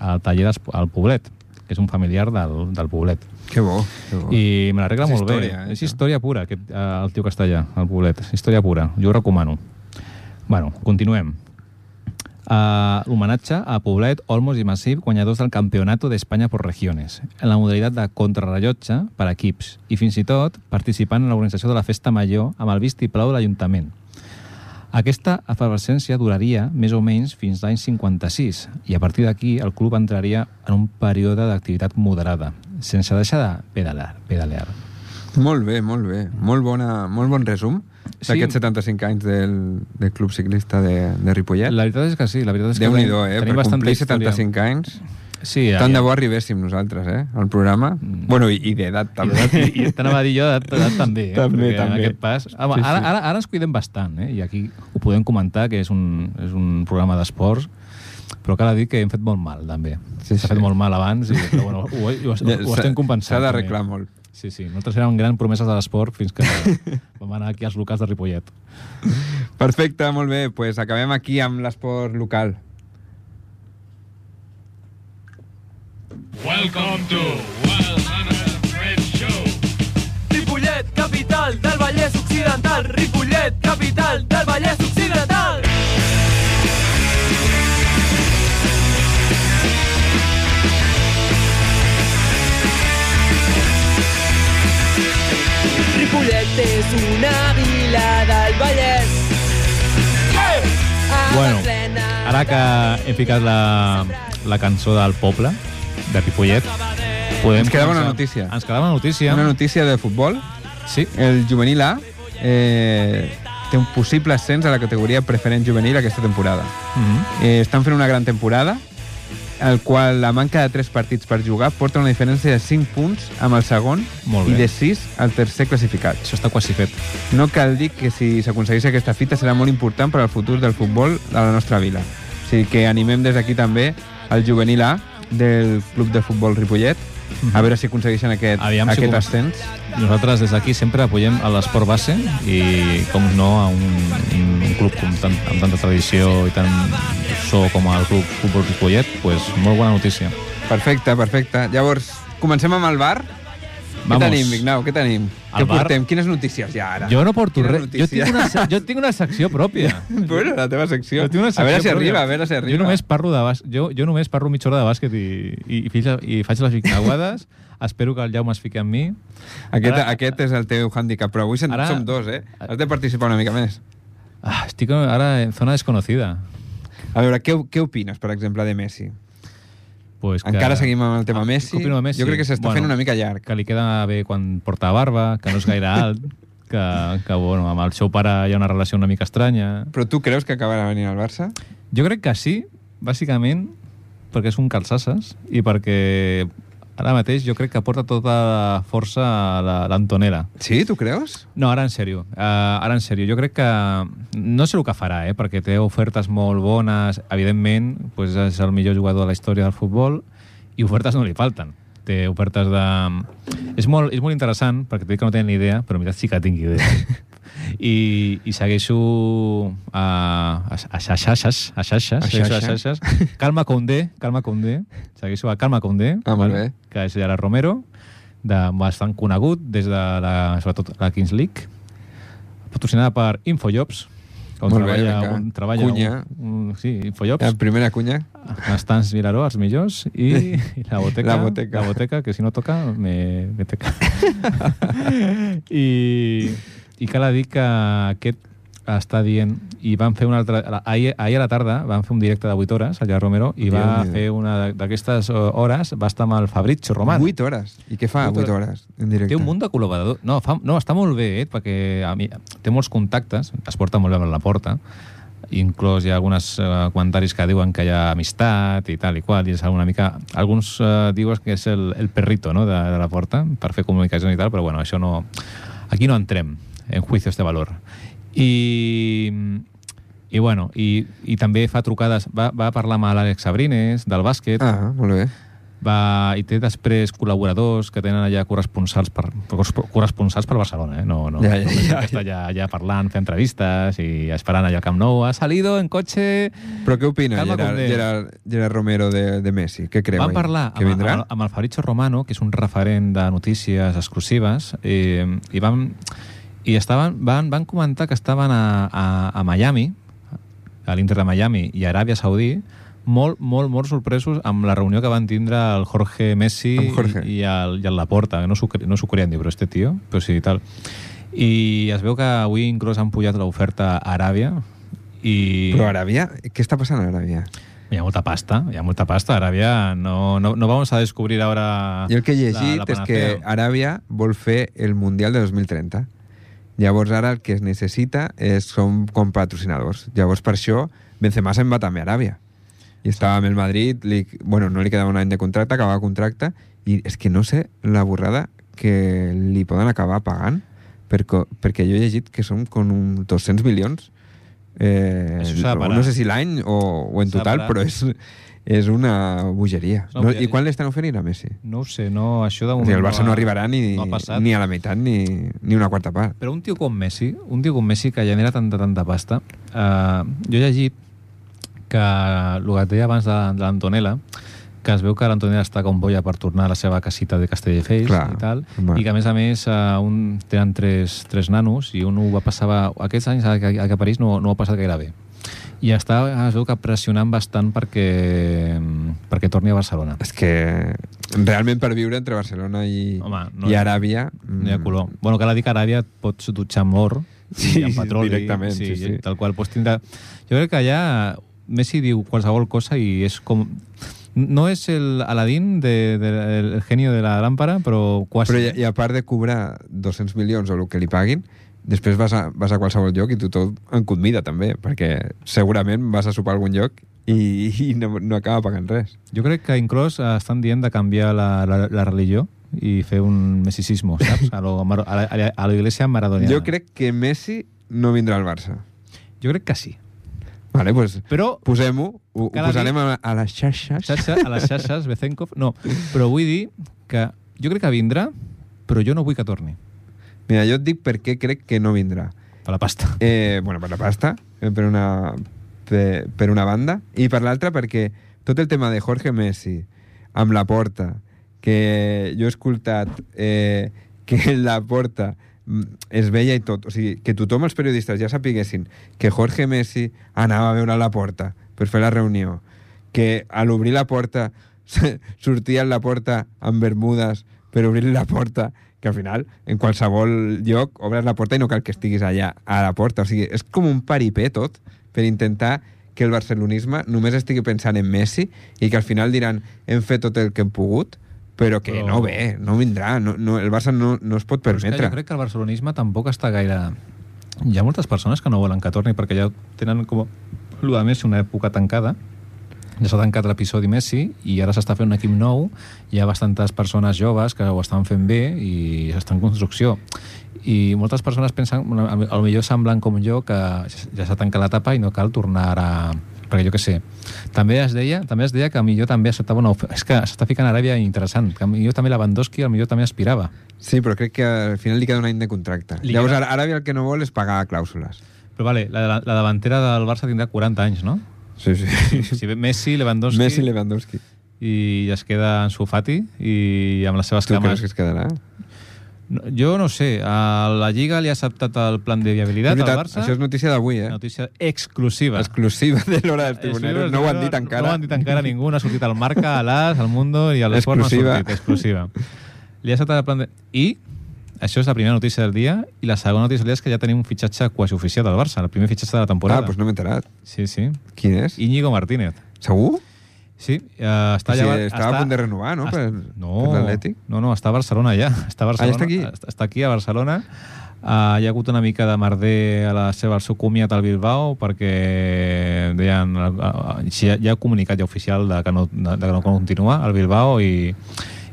Speaker 1: al taller del Poblet, que és un familiar del, del Poblet.
Speaker 2: Que bo, que bo.
Speaker 1: I me l'arregla
Speaker 2: És
Speaker 1: molt
Speaker 2: història,
Speaker 1: bé.
Speaker 2: eh,
Speaker 1: És
Speaker 2: això.
Speaker 1: història pura, aquest, eh, el tio castellà, el Poblet. És història pura, jo ho recomano. bueno, continuem. Uh, L'homenatge a Poblet, Olmos i Massif, guanyadors del Campeonato d'Espanya por Regiones, en la modalitat de contrarrellotge per equips i fins i tot participant en l'organització de la Festa Major amb el vistiplau de l'Ajuntament. Aquesta efervescència duraria més o menys fins l'any 56 i a partir d'aquí el club entraria en un període d'activitat moderada, sense deixar de pedalar. pedalear.
Speaker 2: Molt bé, molt bé. Molt, bona, molt bon resum
Speaker 1: Sí.
Speaker 2: d'aquests 75 anys del, del Club Ciclista de, de Ripollet.
Speaker 1: La veritat és que sí, la veritat és que
Speaker 2: Déu-n'hi-do, eh? Per
Speaker 1: bastanta
Speaker 2: complir
Speaker 1: història.
Speaker 2: 75 anys,
Speaker 1: Sí,
Speaker 2: ja, tant de bo arribéssim nosaltres, eh? Al programa. Bueno, i, i d'edat, també.
Speaker 1: Mm. I, i t'anava a dir jo d'edat d'edat també, eh?
Speaker 2: També,
Speaker 1: Perquè En
Speaker 2: també.
Speaker 1: aquest pas... Home,
Speaker 2: Sí,
Speaker 1: sí, ara,
Speaker 2: sí.
Speaker 1: ara, ara ens cuidem bastant, eh? I aquí ho podem comentar, que és un, és un programa d'esports, però cal dir que hem fet molt mal, també.
Speaker 2: Sí,
Speaker 1: S'ha
Speaker 2: sí.
Speaker 1: fet molt mal abans, i, però bueno, ho, ho, ho, ho estem compensant.
Speaker 2: S'ha
Speaker 1: també.
Speaker 2: d'arreglar molt.
Speaker 1: Sí, sí. Nosaltres érem grans promeses de l'esport fins que vam anar aquí als locals de Ripollet.
Speaker 2: Perfecte, molt bé. Doncs pues acabem aquí amb l'esport local.
Speaker 3: Welcome to Wild Hunter Red Show.
Speaker 5: Ripollet, capital del Vallès Occidental. Ripollet, capital del Vallès Occidental. Ripollet és una vila del Vallès. A la
Speaker 1: Bueno,
Speaker 5: plena
Speaker 1: Ara que hem ficat la, la cançó del poble, de Ripollet, podem
Speaker 2: Ens quedava una
Speaker 1: començar-
Speaker 2: notícia.
Speaker 1: Ens quedava una notícia.
Speaker 2: Una notícia de futbol.
Speaker 1: Sí,
Speaker 2: El juvenil A eh, té un possible ascens a la categoria preferent juvenil aquesta temporada.
Speaker 1: Mhm.
Speaker 2: Eh, estan fent una gran temporada, el qual la manca de 3 partits per jugar porta una diferència de 5 punts amb el segon
Speaker 1: Molt
Speaker 2: i
Speaker 1: bé.
Speaker 2: de 6 al tercer classificat.
Speaker 1: això està quasi fet.
Speaker 2: No cal dir que si s'aconsegueix aquesta fita serà molt important per al futur del futbol de la nostra vila. O sigui que animem des d'aquí també el juvenil A del Club de Futbol Ripollet a veure si aconsegueixen aquest,
Speaker 1: Mhm. Aviam si
Speaker 2: aquest
Speaker 1: com-
Speaker 2: ascens.
Speaker 1: Nosaltres des d'aquí sempre apoyem a l'esport base i, com no, a un, un club com tan, amb tanta tradició i tant so com el club Futbol Ripollet, pues, molt bona notícia.
Speaker 2: Perfecte, perfecte. Llavors, comencem amb el bar.
Speaker 1: Vamos.
Speaker 2: Què tenim, Vignau? Què tenim?
Speaker 1: El
Speaker 2: Què
Speaker 1: bar-
Speaker 2: portem? Quines notícies hi ha ara?
Speaker 1: Jo no porto
Speaker 2: Quines
Speaker 1: res. Jo, tinc
Speaker 2: notícies?
Speaker 1: una, se- jo tinc una secció pròpia.
Speaker 2: Bueno, la teva secció.
Speaker 1: Jo tinc una
Speaker 2: a veure
Speaker 1: secció
Speaker 2: si
Speaker 1: pròpia.
Speaker 2: arriba, a veure si arriba.
Speaker 1: Jo només parlo, de bàs... jo, jo només parlo mitja hora de bàsquet i, i, i, fitxa- i faig les vicnaguades. Espero que el Jaume es fiqui amb mi.
Speaker 2: Aquest,
Speaker 1: Ara-
Speaker 2: aquest és el teu hàndicap, però avui sen-
Speaker 1: Ara-
Speaker 2: som dos, eh? Has de participar una mica més.
Speaker 1: Ah, estic ara en zona desconocida.
Speaker 2: A veure, què, què opines, per exemple, de Messi?
Speaker 1: Pues que...
Speaker 2: Encara seguim amb el tema
Speaker 1: Ah,
Speaker 2: Messi.
Speaker 1: opino de Messi.
Speaker 2: Jo crec que s'està
Speaker 1: Bueno.
Speaker 2: fent una mica llarg.
Speaker 1: que li queda bé quan porta barba, que no és gaire alt, que, que bueno, amb el seu pare hi ha una relació una mica estranya.
Speaker 2: Però tu creus que acabarà venint al Barça?
Speaker 1: Jo crec que sí, bàsicament, perquè és un calçasses i perquè ara mateix jo crec que porta tota la força a la- l'Antonera.
Speaker 2: Sí, tu creus?
Speaker 1: No, ara en sèrio. Uh, ara en sèrio. Jo crec que... No sé el que farà, eh? perquè té ofertes molt bones. Evidentment, pues és el millor jugador de la història del futbol i ofertes no li falten. Té ofertes de... És molt, és molt interessant, perquè t'he dit que no tenen ni idea, però en veritat sí que tinc idea. I, i segueixo a, a, a xaxes, a xaxes,
Speaker 2: A
Speaker 1: segueixo a
Speaker 2: xarxa.
Speaker 1: xaxes. Calma Condé, Calma Condé, segueixo a Calma Condé,
Speaker 2: Ah, molt
Speaker 1: val?
Speaker 2: bé.
Speaker 1: que és Gerard Romero, de, bastant conegut des de la, sobretot la Kings League, patrocinada per Infojobs, on
Speaker 2: Molt bé,
Speaker 1: treballa,
Speaker 2: vinga.
Speaker 1: on treballa
Speaker 2: Cunya.
Speaker 1: Un, un, sí, Follops,
Speaker 2: La primera cunya.
Speaker 1: Estants Miraró, els millors, i, i la boteca,
Speaker 2: La boteca.
Speaker 1: la boteca, que si no toca, me, me teca. I, I cal a dir que aquest està dient, i van fer una altra... la- Ahir, ahir a la tarda van fer un directe de 8 hores allà a Romero, i va
Speaker 2: Déu-n'hi-do.
Speaker 1: fer una d'a- d'aquestes eh, hores, va estar amb el Fabrizio Romano.
Speaker 2: 8 hores. I què fa
Speaker 1: Vuit
Speaker 2: 8
Speaker 1: hores.
Speaker 2: hores en directe?
Speaker 1: Té un munt de col·laboradors. No, fa, no està molt bé, eh, perquè a mi, té molts contactes, es porta molt bé amb la porta, inclús hi ha alguns eh, comentaris que diuen que hi ha amistat i tal i qual, i és una mica... Alguns eh, diuen que és el, el perrito no, de, de la porta per fer comunicació i tal, però bueno, això no... Aquí no entrem en juicios de valor. I, i bueno, i, i també fa trucades... Va, va parlar amb l'Àlex Sabrines, del bàsquet,
Speaker 2: Ah, molt bé.
Speaker 1: va, i té després col·laboradors que tenen allà corresponsals per, corresponsals per Barcelona, eh? No, no,
Speaker 2: Ja, ja,
Speaker 1: no,
Speaker 2: ja,
Speaker 1: que està allà, allà parlant, fent entrevistes i esperant allà al Camp Nou. Ha salido en cotxe...
Speaker 2: Però què opina
Speaker 1: Calma,
Speaker 2: Gerard,
Speaker 1: Condés.
Speaker 2: Gerard, Gerard Romero de, de Messi? Què creu?
Speaker 1: Van
Speaker 2: ell?
Speaker 1: parlar
Speaker 2: Que
Speaker 1: amb,
Speaker 2: vindrà?
Speaker 1: amb, amb el Fabrizio Romano, que és un referent de notícies exclusives, i, i van i estaven, van, van comentar que estaven a, a, a Miami, a l'Inter de Miami i a Aràbia Saudí, molt, molt, molt sorpresos amb la reunió que van tindre el Jorge Messi
Speaker 2: Amb Jorge.
Speaker 1: i, el, i el Laporta. que No s'ho cre- no s'ho creien, dir, però este tio, però sí, tal. I es veu que avui inclús han pujat l'oferta a Aràbia i...
Speaker 2: Però Aràbia? Què està passant a Aràbia?
Speaker 1: Hi ha molta pasta, hi ha molta pasta. Aràbia no, no, no vamos a descubrir ahora...
Speaker 2: Jo el que he
Speaker 1: la-
Speaker 2: llegit
Speaker 1: la
Speaker 2: és que
Speaker 1: panacea.
Speaker 2: Aràbia vol fer el Mundial de 2030. Llavors ara el que es necessita és, són com patrocinadors. Llavors per això Benzema se'n va també a Aràbia. I estava amb el Madrid, li, bueno, no li quedava un any de contracte, acabava contracte, i és que no sé la borrada que li poden acabar pagant, perquè, perquè jo he llegit que són com un 200 milions, eh,
Speaker 1: Això s'ha de parar.
Speaker 2: no sé si l'any o, o en
Speaker 1: S'ha de
Speaker 2: total,
Speaker 1: parar.
Speaker 2: però és, és una bogeria.
Speaker 1: És una
Speaker 2: No, I
Speaker 1: bogeria.
Speaker 2: quan li estan oferint a Messi?
Speaker 1: No ho sé, no, això de
Speaker 2: O
Speaker 1: moment...
Speaker 2: sigui, el Barça
Speaker 1: ha-
Speaker 2: no arribarà ni,
Speaker 1: no ha passat.
Speaker 2: ni a la meitat ni, ni una quarta part.
Speaker 1: Però un tio com Messi, un tio com Messi que genera tanta, tanta pasta... Eh, jo he llegit que el que et deia abans de, de l'Antonella, que es veu que l'Antonella està com boia per tornar a la seva casita de Castelldefels
Speaker 2: Clar,
Speaker 1: i tal,
Speaker 2: home.
Speaker 1: i que a més a més eh, un, tenen tres, tres nanos i un ho va passar... Aquests anys aquí aquí a París no, no ho ha passat gaire bé. I està, es veu que pressionant bastant perquè, perquè torni a Barcelona.
Speaker 2: És que realment per viure entre Barcelona i,
Speaker 1: Home, no
Speaker 2: i
Speaker 1: hi ha-
Speaker 2: Aràbia... mm,
Speaker 1: No hi ha color. Bueno, cal dir que a Aràbia et pots dutxar amb l'or
Speaker 2: Sí,
Speaker 1: i amb petroli.
Speaker 2: directament, sí, sí.
Speaker 1: Tal qual, pots tindre... Jo crec que allà Messi diu qualsevol cosa i és com... No és el Aladín, de, de, el genio de la lámpara, però quasi.
Speaker 2: Però i, i a part de cobrar 200 milions o el que li paguin, després vas a, vas a qualsevol lloc i tothom en convida també, perquè segurament vas a sopar a algun lloc i, i no, no acaba pagant res.
Speaker 1: Jo crec que inclús eh, estan dient de canviar la, la, la religió i fer un messicismo, saps? A, lo, mar- a, la, a la- a la iglesia maradoniana.
Speaker 2: Jo crec que Messi no vindrà al Barça.
Speaker 1: jo crec que sí.
Speaker 2: Vale, pues,
Speaker 1: Però
Speaker 2: Posem-ho, ho, ho
Speaker 1: Cada
Speaker 2: posarem a, a les xarxes.
Speaker 1: Xarxa, a les xarxes, Bezenkov... No, però vull dir que jo crec que vindrà, però jo no vull que torni.
Speaker 2: Mira, jo et dic per què crec que no vindrà.
Speaker 1: Per la pasta.
Speaker 2: Eh, bueno, per la pasta, eh, per una, per, per una banda, i per l'altra perquè tot el tema de Jorge Messi amb la porta, que jo he escoltat eh, que la porta mm, es veia i tot, o sigui, que tothom els periodistes ja sapiguessin que Jorge Messi anava a veure la porta per fer la reunió, que a l'obrir la porta sortia la porta amb bermudes per obrir la porta, que al final en qualsevol lloc obres la porta i no cal que estiguis allà a la porta, o sigui, és com un paripé tot per intentar que el barcelonisme només estigui pensant en Messi i que al final diran hem fet tot el que hem pogut, però que
Speaker 1: Però-
Speaker 2: no ve, no vindrà, no, no, el Barça no, no es pot
Speaker 1: Però és que
Speaker 2: permetre.
Speaker 1: jo crec que el barcelonisme tampoc està gaire... Hi ha moltes persones que no volen que torni perquè ja tenen com... Lo de Messi, una època tancada. Ja s'ha tancat l'episodi Messi i ara s'està fent un equip nou. Hi ha bastantes persones joves que ho estan fent bé i està en construcció. I moltes persones pensen, bueno, a mi- a lo millor semblen com jo, que ja s'ha tancat l'etapa i no cal tornar a... Perquè jo què sé. També es deia també es deia que a millor també acceptava una... ofe- És que s'està ficant Aràbia interessant. Que a millor també Lewandowski a millor també aspirava.
Speaker 2: Sí, però crec que al final li queda un any de contracte.
Speaker 1: Li
Speaker 2: Llavors,
Speaker 1: queda-
Speaker 2: ara, ara el que no vol és pagar clàusules.
Speaker 1: Però vale, la, la davantera del Barça tindrà 40 anys, no?
Speaker 2: Sí, sí.
Speaker 1: Si ve Messi, Lewandowski
Speaker 2: Messi i Lewandowski.
Speaker 1: i es queda en Fati i amb les seves
Speaker 2: Tu creus
Speaker 1: cames...
Speaker 2: que es quedarà?
Speaker 1: No, Jo no sé, a la Lliga li ha acceptat el plan de viabilitat
Speaker 2: És
Speaker 1: al Barça.
Speaker 2: això és notícia d'avui, eh?
Speaker 1: notícia exclusiva.
Speaker 2: Exclusiva de l'hora dels
Speaker 1: Exclusiva,
Speaker 2: tribuneros. No ho han dit encara.
Speaker 1: No ho han dit encara ningú, no ha sortit al Marca, a l'As, al Mundo i a l'Esport no ha
Speaker 2: Exclusiva.
Speaker 1: sortit, exclusiva. Li ha acceptat el plan de... I això és la primera notícia del dia i la segona notícia del dia és que ja tenim un fitxatge quasi oficial del Barça, el primer fitxatge de la
Speaker 2: Ah,
Speaker 1: temporada.
Speaker 2: doncs no m'he enterat.
Speaker 1: Sí, sí.
Speaker 2: Quin és?
Speaker 1: Íñigo Martínez.
Speaker 2: Segur?
Speaker 1: Sí, eh, està
Speaker 2: Sí,
Speaker 1: allà...
Speaker 2: estava a punt de renovar, no,
Speaker 1: està-
Speaker 2: per-
Speaker 1: no,
Speaker 2: per l'Atlètic? Ah,
Speaker 1: No, no, està a Barcelona ja. Està a Barcelona, eh,
Speaker 2: està aquí?
Speaker 1: Està, està aquí, a Barcelona. Uh, hi ha hagut una mica de merder a la seva, al seu comiat al Bilbao eh, perquè deien, uh, ja, ja ha comunicat ja oficial de que no, de, de que no continua al Bilbao i,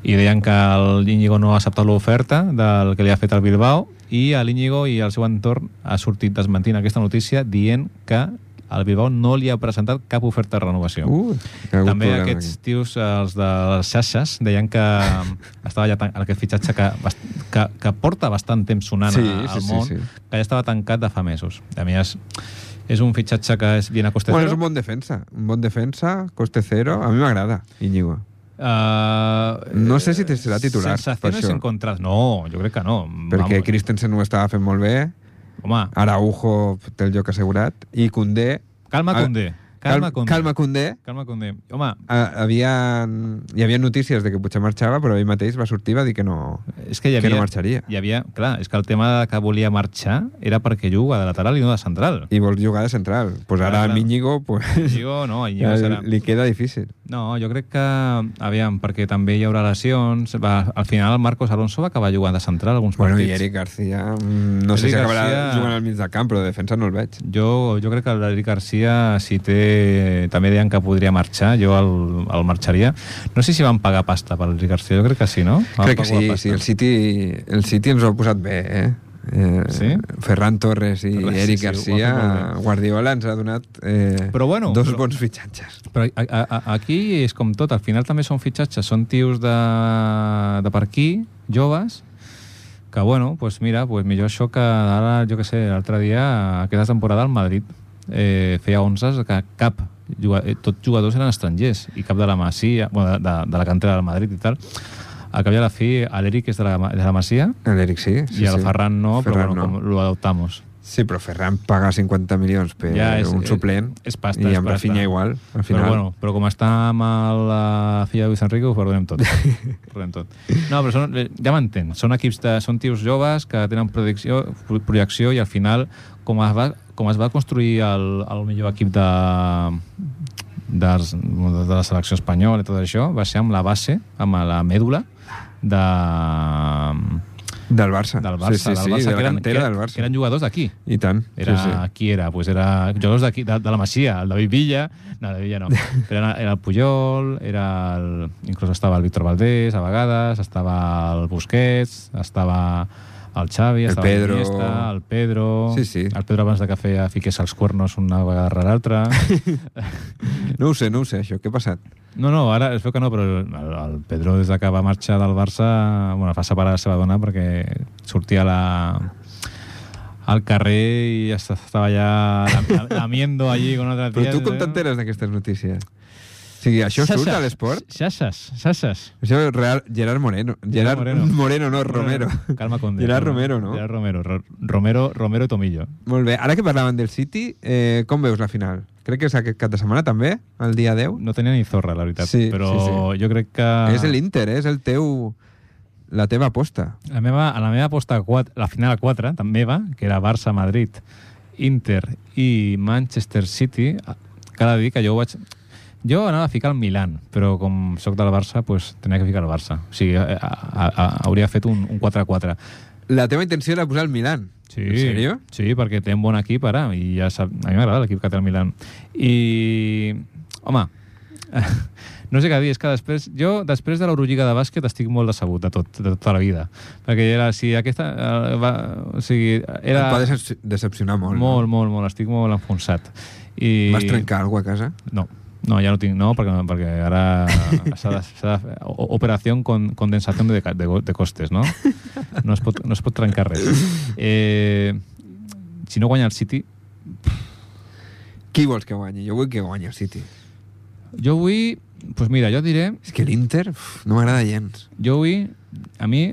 Speaker 1: i deien que el Íñigo no ha acceptat l'oferta del que li ha fet al Bilbao i a l'Íñigo i al seu entorn ha sortit desmentint aquesta notícia dient que el Bilbao no li ha presentat cap oferta de renovació.
Speaker 2: Uh, que ha hagut
Speaker 1: També
Speaker 2: problema
Speaker 1: aquests
Speaker 2: aquí.
Speaker 1: tios, eh, els de les xarxes, deien que estava ja tan, aquest fitxatge que, bast- que, que porta bastant temps sonant
Speaker 2: Sí,
Speaker 1: a- al
Speaker 2: sí, sí,
Speaker 1: món,
Speaker 2: sí.
Speaker 1: que ja estava tancat de fa mesos. A més, és un fitxatge que és bien a coste
Speaker 2: Bueno, és
Speaker 1: zero.
Speaker 2: un bon defensa. Un bon defensa, coste zero. A mi m'agrada, Íñigo.
Speaker 1: Eh,
Speaker 2: No sé si te serà titular, per
Speaker 1: Sensaciones
Speaker 2: això.
Speaker 1: encontradas. No, jo crec que no.
Speaker 2: Perquè Ah,
Speaker 1: Vamos.
Speaker 2: Christensen ho estava fent molt bé,
Speaker 1: Home,
Speaker 2: Araujo té el lloc assegurat, i Condé...
Speaker 1: calma,
Speaker 2: Ah,
Speaker 1: Condé. Calma, Condé.
Speaker 2: Calma, Condé.
Speaker 1: Calma, Condé. Home,
Speaker 2: Ah, havien, hi havia notícies de que potser marxava, però ell mateix va sortir i va dir que no,
Speaker 1: és que hi havia...
Speaker 2: que no marxaria.
Speaker 1: Hi havia, clar, és que el tema de que volia marxar era perquè juga de lateral i no de central.
Speaker 2: I vol jugar de central. Pues
Speaker 1: Clar,
Speaker 2: ara
Speaker 1: clar.
Speaker 2: amb Íñigo pues,
Speaker 1: Íñigo, no, Íñigo
Speaker 2: ja
Speaker 1: serà...
Speaker 2: li queda difícil.
Speaker 1: No, jo crec que, aviam, perquè també hi haurà lesions, va, al final el Marcos Alonso va acabar jugant de central alguns
Speaker 2: Bueno, i
Speaker 1: partits.
Speaker 2: Eric García, mm, no sé
Speaker 1: Eric
Speaker 2: si acabarà
Speaker 1: Garcia-
Speaker 2: jugant al mig de camp, però de defensa no el veig.
Speaker 1: Jo, jo crec que l'Eric Garcia, si té... També deien que podria marxar, jo el, el marxaria. No sé si van pagar pasta per l'Eric Garcia, jo crec que sí, no? Van
Speaker 2: Crec que
Speaker 1: pagar
Speaker 2: sí,
Speaker 1: pasta.
Speaker 2: sí, el City, el City ens ho ha posat bé, eh? eh
Speaker 1: Sí?
Speaker 2: Ferran Torres i
Speaker 1: Torres, sí,
Speaker 2: Eric
Speaker 1: sí, ho ha fet
Speaker 2: Garcia,
Speaker 1: molt
Speaker 2: Guardiola ens ha donat eh,
Speaker 1: Però bueno,
Speaker 2: dos
Speaker 1: però-
Speaker 2: bons fitxatges.
Speaker 1: Però a, a, a- aquí és com tot, al final també són fitxatges, són tios de, de per aquí, joves, que bueno, pues mira, pues millor això que ara, jo que sé, l'altre dia, aquesta temporada al Madrid, eh, feia 11 que cap, juga- eh, tots jugadors eren estrangers, i cap de la Masia, bueno, de, de, de la cantera del Madrid i tal, a cap i a la fi, l'Eric és de la, Ma- de la Masia,
Speaker 2: L'Eric sí, sí.
Speaker 1: sí, i el
Speaker 2: sí.
Speaker 1: Ferran no,
Speaker 2: Ferran
Speaker 1: però bueno,
Speaker 2: no.
Speaker 1: com lo adoptamos.
Speaker 2: Sí, però Ferran paga 50 milions per
Speaker 1: Ja, és-
Speaker 2: un suplent
Speaker 1: és pasta,
Speaker 2: i
Speaker 1: és
Speaker 2: amb
Speaker 1: pasta.
Speaker 2: Rafinha igual, al final.
Speaker 1: Però, bueno, però com està amb el- la filla de Luis Enrico, ho perdonem tot. Ho perdonem tot. No, però són, eh, ja m'entenc. Són equips de, són tios joves que tenen projecció, pro- projecció i al final, com es va, com es va construir el, el millor equip de, de, de la selecció espanyola i tot això, va ser amb la base, amb la mèdula de,
Speaker 2: Del Barça.
Speaker 1: del Barça.
Speaker 2: Ah, Sí, sí, sí,
Speaker 1: del Barça
Speaker 2: de
Speaker 1: que
Speaker 2: la
Speaker 1: eren-
Speaker 2: cantera
Speaker 1: que-
Speaker 2: del Barça.
Speaker 1: Que eren jugadors d'aquí.
Speaker 2: I tant.
Speaker 1: Era,
Speaker 2: Sí, sí.
Speaker 1: Qui era? Pues era jugadors d'aquí, de, de la Masia, el David Villa, no, David Villa no, però era, era el Puyol, era el, inclús estava el Víctor Valdés a vegades, estava el Busquets, estava el Xavi,
Speaker 2: El
Speaker 1: estava
Speaker 2: Pedro.
Speaker 1: Iniesta, el Pedro,
Speaker 2: Sí, sí.
Speaker 1: el Pedro abans de que feia fiqués els cuernos una vegada rere l'altra.
Speaker 2: No ho sé, no ho sé, això. Què ha passat?
Speaker 1: No, no, ara es veu que no, però el, el Pedro des de que va marxar del Barça, bueno, va separar la seva dona perquè sortia a la, al carrer i es- estava ja lam- lamiendo allí con eh? otra
Speaker 2: Però
Speaker 1: tía.
Speaker 2: tu com t'enteres d'aquestes notícies? O sigui, això surt a l'esport?
Speaker 1: Xaxes, xaxes.
Speaker 2: Això és real... Gerard Moreno. Gerard
Speaker 1: Moreno.
Speaker 2: Moreno, Moreno no, Romero.
Speaker 1: Calma con
Speaker 2: Gerard Romero, no?
Speaker 1: Gerard Romero, Ro- Romero, Romero i Tomillo.
Speaker 2: Molt bé. Ara que parlaven del City, eh, com veus la final? Crec que és aquest cap de setmana, també, el dia 10.
Speaker 1: No tenia ni zorra, la veritat,
Speaker 2: Sí,
Speaker 1: però
Speaker 2: sí,
Speaker 1: jo crec que...
Speaker 2: És l'Inter, eh? és el teu... la teva aposta.
Speaker 1: La meva, a la meva aposta, a quatre, la final a 4, també va, que era Barça, Madrid, Inter i Manchester City, cada dia que jo ho vaig... Jo anava a ficar el Milan, però com sóc del Barça, pues, tenia que ficar el Barça. O sigui, eh, a, a, a, hauria fet un un 4-4.
Speaker 2: La teva intenció era posar el Milan.
Speaker 1: Sí,
Speaker 2: En sèrio?
Speaker 1: Sí, perquè té un bon equip ara, i ja sap, a mi m'agrada l'equip que té el Milan. I, home, no sé què dir, és que després, jo després de l'Eurolliga de bàsquet estic molt decebut de, tot, de tota la vida, perquè era, si aquesta, eh, va, o sigui,
Speaker 2: Era...
Speaker 1: era
Speaker 2: Et va decep- decepcionar molt. no?
Speaker 1: molt, molt, molt, estic molt enfonsat. I...
Speaker 2: Vas trencar alguna cosa a casa?
Speaker 1: No, no, ja no tinc, no, perquè, perquè ara s'ha de, s'ha de fer eh, o- operació con, condensació de, ca- de, go- de costes, no? No es pot, no es pot trencar res. Eh, si no guanya el City,
Speaker 2: Qui vols que guanyi? Jo vull que guanyi el City.
Speaker 1: jo vull, doncs pues mira, jo diré,
Speaker 2: És que l'Inter uf, no m'agrada gens.
Speaker 1: jo vull, a mi,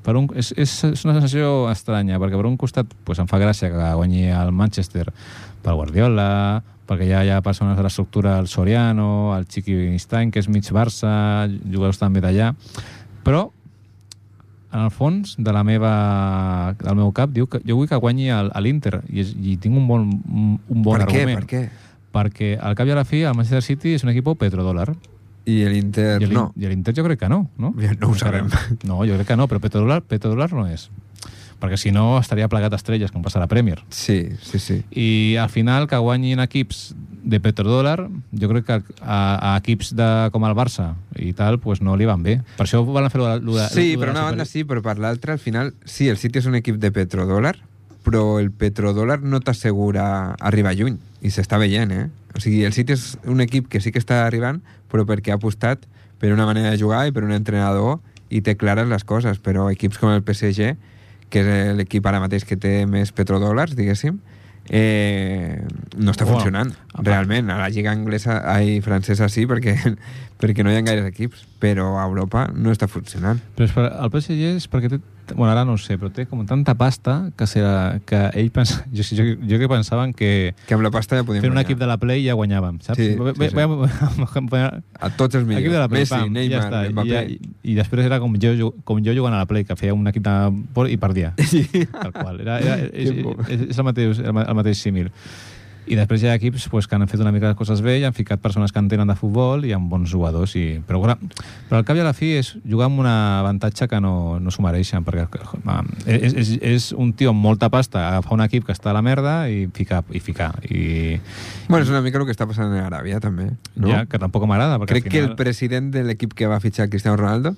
Speaker 1: Per un, és, és, és una sensació estranya, perquè per un costat pues, em fa gràcia que guanyi el Manchester pel Guardiola, perquè ja hi ha persones de l'estructura, el Soriano, el Chiqui Stein, que és mig Barça, jugadors també d'allà, però en el fons de la meva, del meu cap diu que jo vull que guanyi el- a l'Inter i, és- i tinc un bon, un, un bon
Speaker 2: per què?
Speaker 1: argument
Speaker 2: Per què?
Speaker 1: perquè al cap i a la fi el Manchester City és un equip petrodòlar
Speaker 2: I l'Inter
Speaker 1: i el-
Speaker 2: Eh, no.
Speaker 1: i l'Inter jo crec que no, no?
Speaker 2: Ja no ho sabem.
Speaker 1: No, jo crec que no, però petrodòlar, petrodòlar no és. Perquè si no estaria plegat estrelles, com passa a la Premier.
Speaker 2: Sí, sí, sí.
Speaker 1: I al final que guanyin equips de petrodòlar, jo crec que a, a equips de, com el Barça i tal, pues no li van bé. Per això van fer-ho de, lo de...
Speaker 2: Sí,
Speaker 1: lo de
Speaker 2: per
Speaker 1: la
Speaker 2: una banda
Speaker 1: Super-
Speaker 2: sí, però per l'altra, al final, sí, el City és un equip de petrodòlar, però el petrodòlar no t'assegura arribar lluny, i s'està veient, eh? O sigui, el City és un equip que sí que està arribant, però perquè ha apostat per una manera de jugar i per un entrenador i té clares les coses, però equips com el PSG, que és l'equip ara mateix que té més petrodòlars, diguéssim, eh, no està
Speaker 1: Bueno,
Speaker 2: funcionant,
Speaker 1: a part-
Speaker 2: realment. A la lliga anglesa i francesa sí, perquè, perquè no hi ha gaires equips, però a Europa no està funcionant.
Speaker 1: Però és per, el PSG és perquè té... Bueno, ara no ho sé, però té com tanta pasta que, serà, que ell pensa... Jo, jo, jo que pensaven que
Speaker 2: Que amb la pasta ja podíem
Speaker 1: fent un equip de la Play ja guanyàvem, saps?
Speaker 2: Sí,
Speaker 1: Ve-
Speaker 2: sí, sí.
Speaker 1: ve- ve-
Speaker 2: A tots els
Speaker 1: Equip
Speaker 2: millors.
Speaker 1: de la Play,
Speaker 2: Messi,
Speaker 1: pam,
Speaker 2: Neymar,
Speaker 1: ja està. I,
Speaker 2: Mbappé...
Speaker 1: ja, i, I després era com jo, ju- com jo jugant a la Play, que feia un equip de por i perdia. Tal qual. Era, era, és,
Speaker 2: Que bo.
Speaker 1: és, és el mateix, el, ma- el mateix símil. I després hi ha equips pues, que han fet una mica les coses bé i han ficat persones que entenen de futbol i amb bons jugadors. I... Però, clar, però al cap i a la fi és jugar amb un avantatge que no, no s'ho mereixen, perquè home, és, és, és un tio amb molta pasta agafar un equip que està a la merda i ficar. I ficar. I,
Speaker 2: Bueno, és una mica el que està passant a Aràbia, també. No?
Speaker 1: ja, que tampoc m'agrada. perquè
Speaker 2: Crec
Speaker 1: al
Speaker 2: que
Speaker 1: final...
Speaker 2: el president de l'equip que va fitxar Cristiano Ronaldo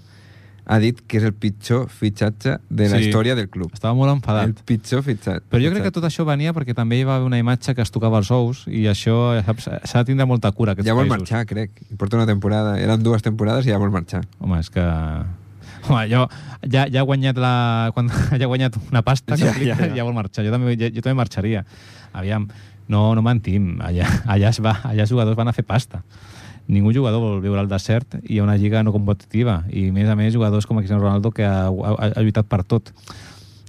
Speaker 2: ha dit que és el pitjor fitxatge de la
Speaker 1: Sí.
Speaker 2: història del club.
Speaker 1: Estava molt
Speaker 2: El
Speaker 1: enfadat.
Speaker 2: pitjor fitxatge.
Speaker 1: Però jo crec que tot això venia perquè també hi va haver una imatge que es tocava els ous i això saps, s'ha de tindre molta cura aquests
Speaker 2: Ja vol
Speaker 1: països.
Speaker 2: marxar, crec. I Porta una temporada. Eren dues temporades i ja vol marxar.
Speaker 1: Home, és que... Home, jo ja, ja he guanyat la... Quan, ja he guanyat una pasta que
Speaker 2: Ja,
Speaker 1: ja, ja,
Speaker 2: ja, ja.
Speaker 1: ja. ja vol marxar. Jo també, ja, jo també marxaria. Aviam, no, no mentim. Allà, allà, es va, allà els jugadors van a fer pasta. Ningú jugador vol viure al desert i hi ha una lliga no competitiva. I, a més a més, jugadors com Cristiano Ronaldo que ha, ha, ha lluitat per tot.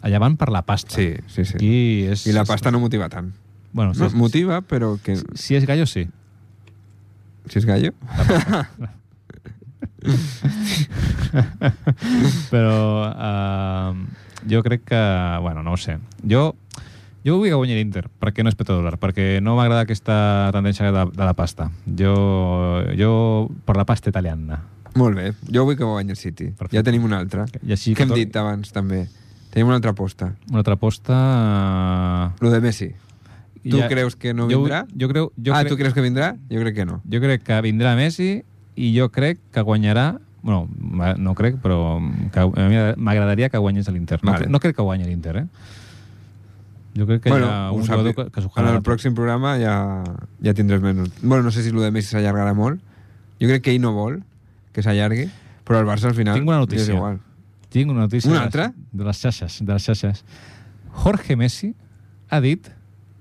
Speaker 1: Allà van per la pasta.
Speaker 2: Sí, sí, sí.
Speaker 1: Aquí és...
Speaker 2: I la pasta no motiva tant.
Speaker 1: Bueno,
Speaker 2: No,
Speaker 1: si, és,
Speaker 2: motiva, però que...
Speaker 1: si és gallo, sí.
Speaker 2: Si és gallo...
Speaker 1: però uh, jo crec que, bueno, no ho sé. Jo, jo vull que guanyi l'Inter, perquè no és petrodòlar, perquè no m'agrada aquesta tendència de, de la pasta. Jo, jo per la pasta italiana.
Speaker 2: Molt bé, jo vull que guanyi el City.
Speaker 1: Perfecte.
Speaker 2: Ja tenim una altra.
Speaker 1: I així
Speaker 2: que hem
Speaker 1: tot-
Speaker 2: dit abans, també. Tenim una altra aposta.
Speaker 1: Una altra aposta... eh,
Speaker 2: Lo de Messi. Tu creus que no
Speaker 1: jo,
Speaker 2: vindrà?
Speaker 1: Jo, creu, jo,
Speaker 2: ah,
Speaker 1: crec,
Speaker 2: tu creus que vindrà? Jo crec que no.
Speaker 1: jo crec que vindrà Messi i jo crec que guanyarà bueno, ma- no crec, però que a mi m'agradaria que guanyés l'Inter. No,
Speaker 2: Vale.
Speaker 1: cre- no crec que guanyi l'Inter, eh? Jo crec que hi ha
Speaker 2: ho
Speaker 1: un
Speaker 2: sàpi-
Speaker 1: jugador que, que s'ho
Speaker 2: En
Speaker 1: jalarà
Speaker 2: el
Speaker 1: tot.
Speaker 2: pròxim programa ja, ja tindràs menys. Bueno, no sé si lo de Messi s'allargarà molt. Jo crec que ell no vol que s'allargui, però el Barça al final...
Speaker 1: Tinc una
Speaker 2: li És
Speaker 1: notícia.
Speaker 2: igual.
Speaker 1: Tinc una notícia
Speaker 2: Una
Speaker 1: de les-
Speaker 2: altra?
Speaker 1: de les xarxes, de les xarxes. Jorge Messi ha dit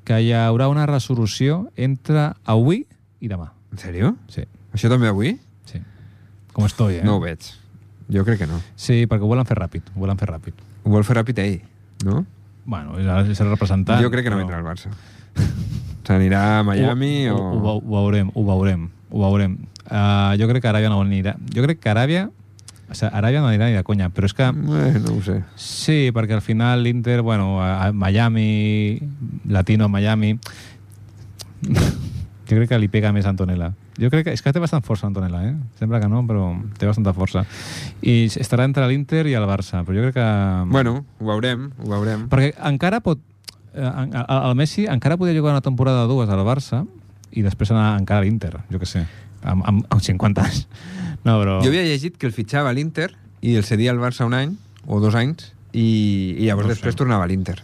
Speaker 1: que hi haurà una resolució entre avui i demà.
Speaker 2: En sèrio?
Speaker 1: Sí,
Speaker 2: Això també avui?
Speaker 1: sí. Com estoy, eh?
Speaker 2: No ho veig. Jo crec que no.
Speaker 1: Sí, perquè ho volen fer ràpid, ho volen fer ràpid.
Speaker 2: Ho vol fer ràpid ell, no?
Speaker 1: Bueno, és el, és el representant.
Speaker 2: jo crec que no
Speaker 1: però-
Speaker 2: vindrà al Barça. S'anirà a Miami
Speaker 1: ho,
Speaker 2: o...
Speaker 1: Ho, ho, ho veurem, ho veurem, ho veurem. Uh, jo crec que Aràbia no anirà... Jo crec que Aràbia... O sigui, Aràbia no anirà ni de conya, però és que...
Speaker 2: Eh, no ho sé.
Speaker 1: Sí, perquè al final l'Inter, bueno, a a Miami, Latino a Miami... jo crec que li pega més a Antonella. Jo crec que... És que té bastant força Antonella, eh? Sembla que no, però té bastanta força. I estarà entre l'Inter i el Barça, però jo crec que...
Speaker 2: Bueno, ho veurem, ho veurem.
Speaker 1: Perquè encara pot... eh, en- a- El Messi encara podria jugar una temporada o dues al Barça i després anar encara a l'Inter, jo que sé, amb, amb, amb 50 anys. No, però...
Speaker 2: Jo havia llegit que el fitxava a l'Inter i el cedia al Barça un any o dos anys i, i llavors
Speaker 1: No ho
Speaker 2: no
Speaker 1: sé.
Speaker 2: després tornava a l'Inter.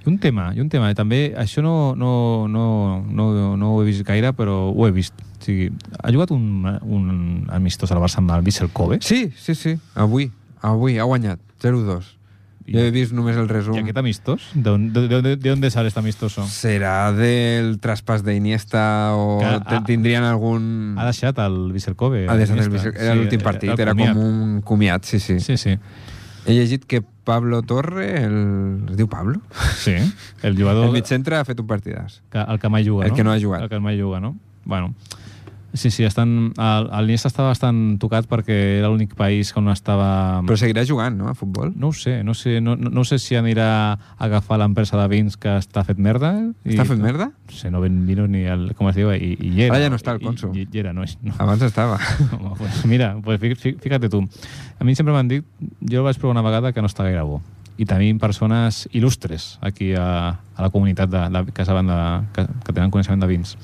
Speaker 1: I un tema, i un tema, també, això no, no, no, no, no ho he vist gaire, però ho he vist. O sigui, ha jugat un, un amistós al Barça amb el Vissel Kobe?
Speaker 2: Sí, sí, sí, avui, avui ha guanyat, 0-2.
Speaker 1: I-
Speaker 2: Jo he vist només el resum.
Speaker 1: I aquest amistós? D'on de, de, de, de on sale este amistoso?
Speaker 2: Serà del traspàs d'Iniesta o
Speaker 1: Que ha-
Speaker 2: te- tindrien algun...
Speaker 1: Ha deixat el Vissel Kobe.
Speaker 2: Ha deixat el
Speaker 1: l'amistós.
Speaker 2: Vicent- Era l'últim
Speaker 1: el
Speaker 2: partit, era com
Speaker 1: comiat.
Speaker 2: un comiat, sí, sí.
Speaker 1: Sí, sí.
Speaker 2: He llegit que per Pablo Torre, el... es diu Pablo?
Speaker 1: Sí, el
Speaker 2: El
Speaker 1: jugador...
Speaker 2: mig centre ha fet un partidàs.
Speaker 1: Que, el que mai juga,
Speaker 2: El
Speaker 1: no?
Speaker 2: que no ha jugat.
Speaker 1: El que mai juga, no? Bueno, sí, sí, estan, el, el Iniesta estava bastant tocat perquè era l'únic país que no estava...
Speaker 2: Però seguirà jugant, no?, a futbol.
Speaker 1: No ho sé, no sé, no, no no sé si anirà a agafar l'empresa de vins que està fet merda. i-
Speaker 2: Està fent merda?
Speaker 1: Sí, no ven vino ni el... Com es diu? eh, I, i Llera.
Speaker 2: Ara ja no està el Ah, cònsol.
Speaker 1: I, i Llera, no és... No.
Speaker 2: Abans estava.
Speaker 1: Home, pues mira, pues fí- fí- fíjate tu. A mi sempre m'han dit, jo vaig provar una vegada que no està gaire bo. I tenim persones il·lustres aquí a, a la comunitat de, de, que, saben de, que, que tenen coneixement de vins.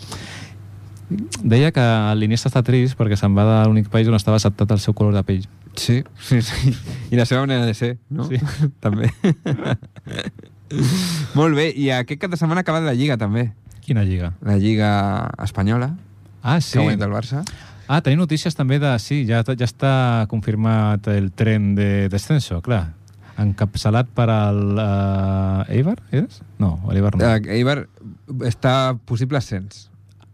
Speaker 1: Deia que l'Iniesta està trist perquè se'n va de l'únic país on estava acceptat el seu color de pell.
Speaker 2: Sí, sí, sí. I la seva manera de ser, no?
Speaker 1: Sí.
Speaker 2: també. Molt bé, i aquest cap de setmana acaba la Lliga, també.
Speaker 1: Quina lliga.
Speaker 2: La Lliga Espanyola,
Speaker 1: Ah,
Speaker 2: sí. que
Speaker 1: sí.
Speaker 2: ha guanyat el Barça.
Speaker 1: Ah, tenim notícies també de... Sí, ja, ja està confirmat el tren de descenso, clar. Encapçalat per el... Uh, Eibar, eres? No, l'Eibar no.
Speaker 2: Eh, Eibar està a possible ascens.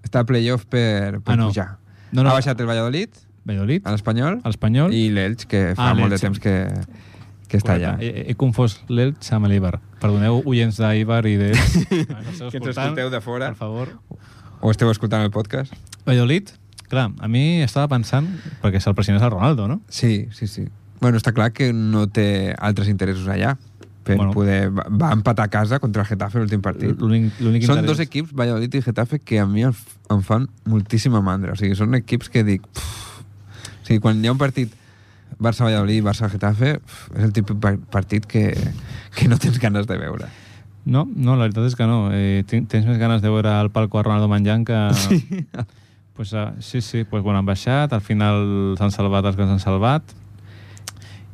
Speaker 2: Està a playoff per, per
Speaker 1: Ah, no.
Speaker 2: pujar.
Speaker 1: No, no.
Speaker 2: Ha baixat el Valladolid,
Speaker 1: Valladolid,
Speaker 2: l'Espanyol,
Speaker 1: l'Espanyol...
Speaker 2: i l'Elx, que fa
Speaker 1: Ah,
Speaker 2: molt de
Speaker 1: l'Elx,
Speaker 2: temps que, que està allà.
Speaker 1: He, he- he confós l'Elx amb l'Eibar. Perdoneu, oients d'Eibar i d'Elx.
Speaker 2: Que ens escolteu de fora.
Speaker 1: Per favor.
Speaker 2: O esteu escoltant el podcast?
Speaker 1: Valladolid, clar, a mi estava pensant, perquè se'l president és el Ronaldo, no?
Speaker 2: Sí, sí, sí. Bueno, està clar que no té altres interessos allà per
Speaker 1: Bueno.
Speaker 2: bueno. poder... Va, va empatar a casa contra el Getafe l'últim partit.
Speaker 1: L'únic l'únic
Speaker 2: Són
Speaker 1: interès-
Speaker 2: dos equips, Valladolid i Getafe, que a mi em, f- em fan moltíssima mandra. O sigui, són equips que dic... pff. O sigui, quan hi ha un partit Barça-Valladolid i Barça-Getafe, pff, és el típic pa- partit que, que no tens ganes de veure.
Speaker 1: No, no, la veritat és que no. Eh, tin- tens més ganes de veure al palco a Ronaldo menjant que... Sí. Pues, uh, sí, sí, pues, bueno, han baixat, al final s'han salvat els que s'han salvat.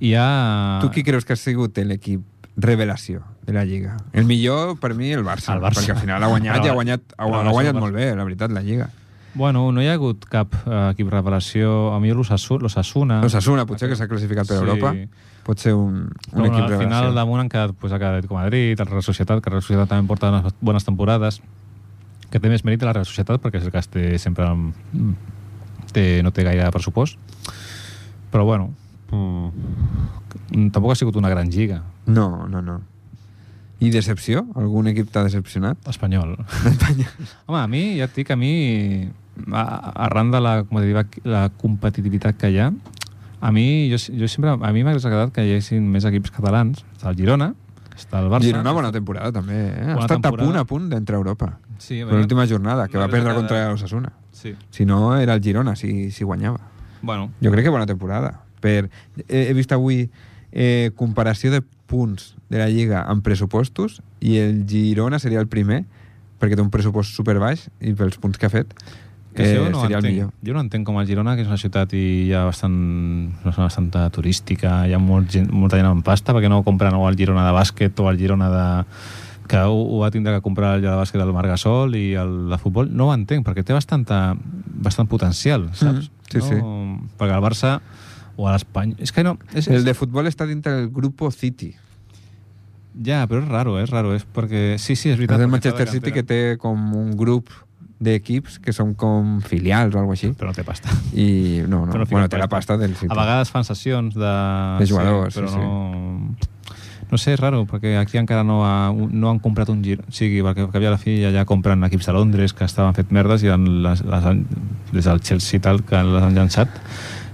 Speaker 1: I ja...
Speaker 2: Ah. Tu qui creus que ha sigut l'equip revelació de la Lliga? El millor, per mi, el Barça.
Speaker 1: El Barça.
Speaker 2: Perquè al final ha guanyat
Speaker 1: Però-
Speaker 2: i ha guanyat, ha,
Speaker 1: però
Speaker 2: ha
Speaker 1: el
Speaker 2: guanyat
Speaker 1: Barça-
Speaker 2: molt bé, la veritat, la Lliga.
Speaker 1: Bueno, no hi ha hagut cap eh, equip revelació. A mi l'Osasu- l'Osasuna...
Speaker 2: L'Ossassuna, potser, que s'ha classificat per
Speaker 1: Ah. Sí.
Speaker 2: Europa, pot ser un, un
Speaker 1: Però, bueno,
Speaker 2: equip
Speaker 1: al
Speaker 2: revelació.
Speaker 1: final damunt han quedat, pues, ha quedat com a Madrid, el Real Societat, que el Real Societat també porta unes bones temporades, que té més mèrit a la Real Societat perquè és el que es té sempre amb- té, no té gaire pressupost. Però bueno, mm, tampoc ha sigut una gran lliga.
Speaker 2: No, no, no. I decepció? Algun equip t'ha decepcionat?
Speaker 1: Espanyol. Home, a mi, ja et dic, a mi, a- arran de la, competitivitat- la competitivitat que hi ha, a mi, jo, jo sempre, a mi m'hagués agradat que hi haguessin més equips catalans. Està el Girona, està el Barça.
Speaker 2: Girona, bona temporada, també. Eh?
Speaker 1: Bona
Speaker 2: ha estat
Speaker 1: temporada.
Speaker 2: a punt, a punt d'entrar a Europa.
Speaker 1: Sí,
Speaker 2: Però l'última jornada, que va
Speaker 1: M'hagués
Speaker 2: perdre
Speaker 1: agradat.
Speaker 2: contra l'Ossassuna.
Speaker 1: Sí.
Speaker 2: Si no, era el Girona, si, si guanyava.
Speaker 1: Bueno,
Speaker 2: Jo crec que bona temporada. Per... He, he vist avui eh, comparació de punts de la Lliga amb pressupostos i el Girona seria el primer perquè té un pressupost superbaix i pels punts que ha fet
Speaker 1: que
Speaker 2: eh,
Speaker 1: eh, jo, no
Speaker 2: seria el
Speaker 1: entenc,
Speaker 2: millor.
Speaker 1: jo no entenc com el Girona, que és una ciutat i hi ha bastant, una zona bastant turística, hi ha molt gent, molta gent amb pasta, perquè no compren o el Girona de bàsquet o el Girona de que ho, ho va tindre que comprar el de bàsquet del Margasol i el de futbol, no ho entenc, perquè té bastanta, bastant potencial, saps?
Speaker 2: Mhm, sí,
Speaker 1: no?
Speaker 2: sí.
Speaker 1: Perquè el Barça o l'Espany... És que no... És,
Speaker 2: El de futbol està dintre del grupo City.
Speaker 1: Ja, però és raro, eh? és raro, és perquè... Sí, sí, és
Speaker 2: És
Speaker 1: veritat. perquè està
Speaker 2: el
Speaker 1: de
Speaker 2: Manchester City que
Speaker 1: cantera.
Speaker 2: té com un grup d'equips que són com filials o alguna així.
Speaker 1: Però no té pasta.
Speaker 2: I no, no.
Speaker 1: Però fiquen
Speaker 2: bueno, té la
Speaker 1: pasta.
Speaker 2: pasta del City.
Speaker 1: A vegades fan sessions de...
Speaker 2: De jugadors,
Speaker 1: però
Speaker 2: sí,
Speaker 1: no... No sé, és raro, perquè aquí encara no, ha, no han comprat un gir. O sigui, perquè al cap i a la fi allà compren equips a Londres que estaven fet merdes i han- les, les han, des del Chelsea i tal que les han llançat.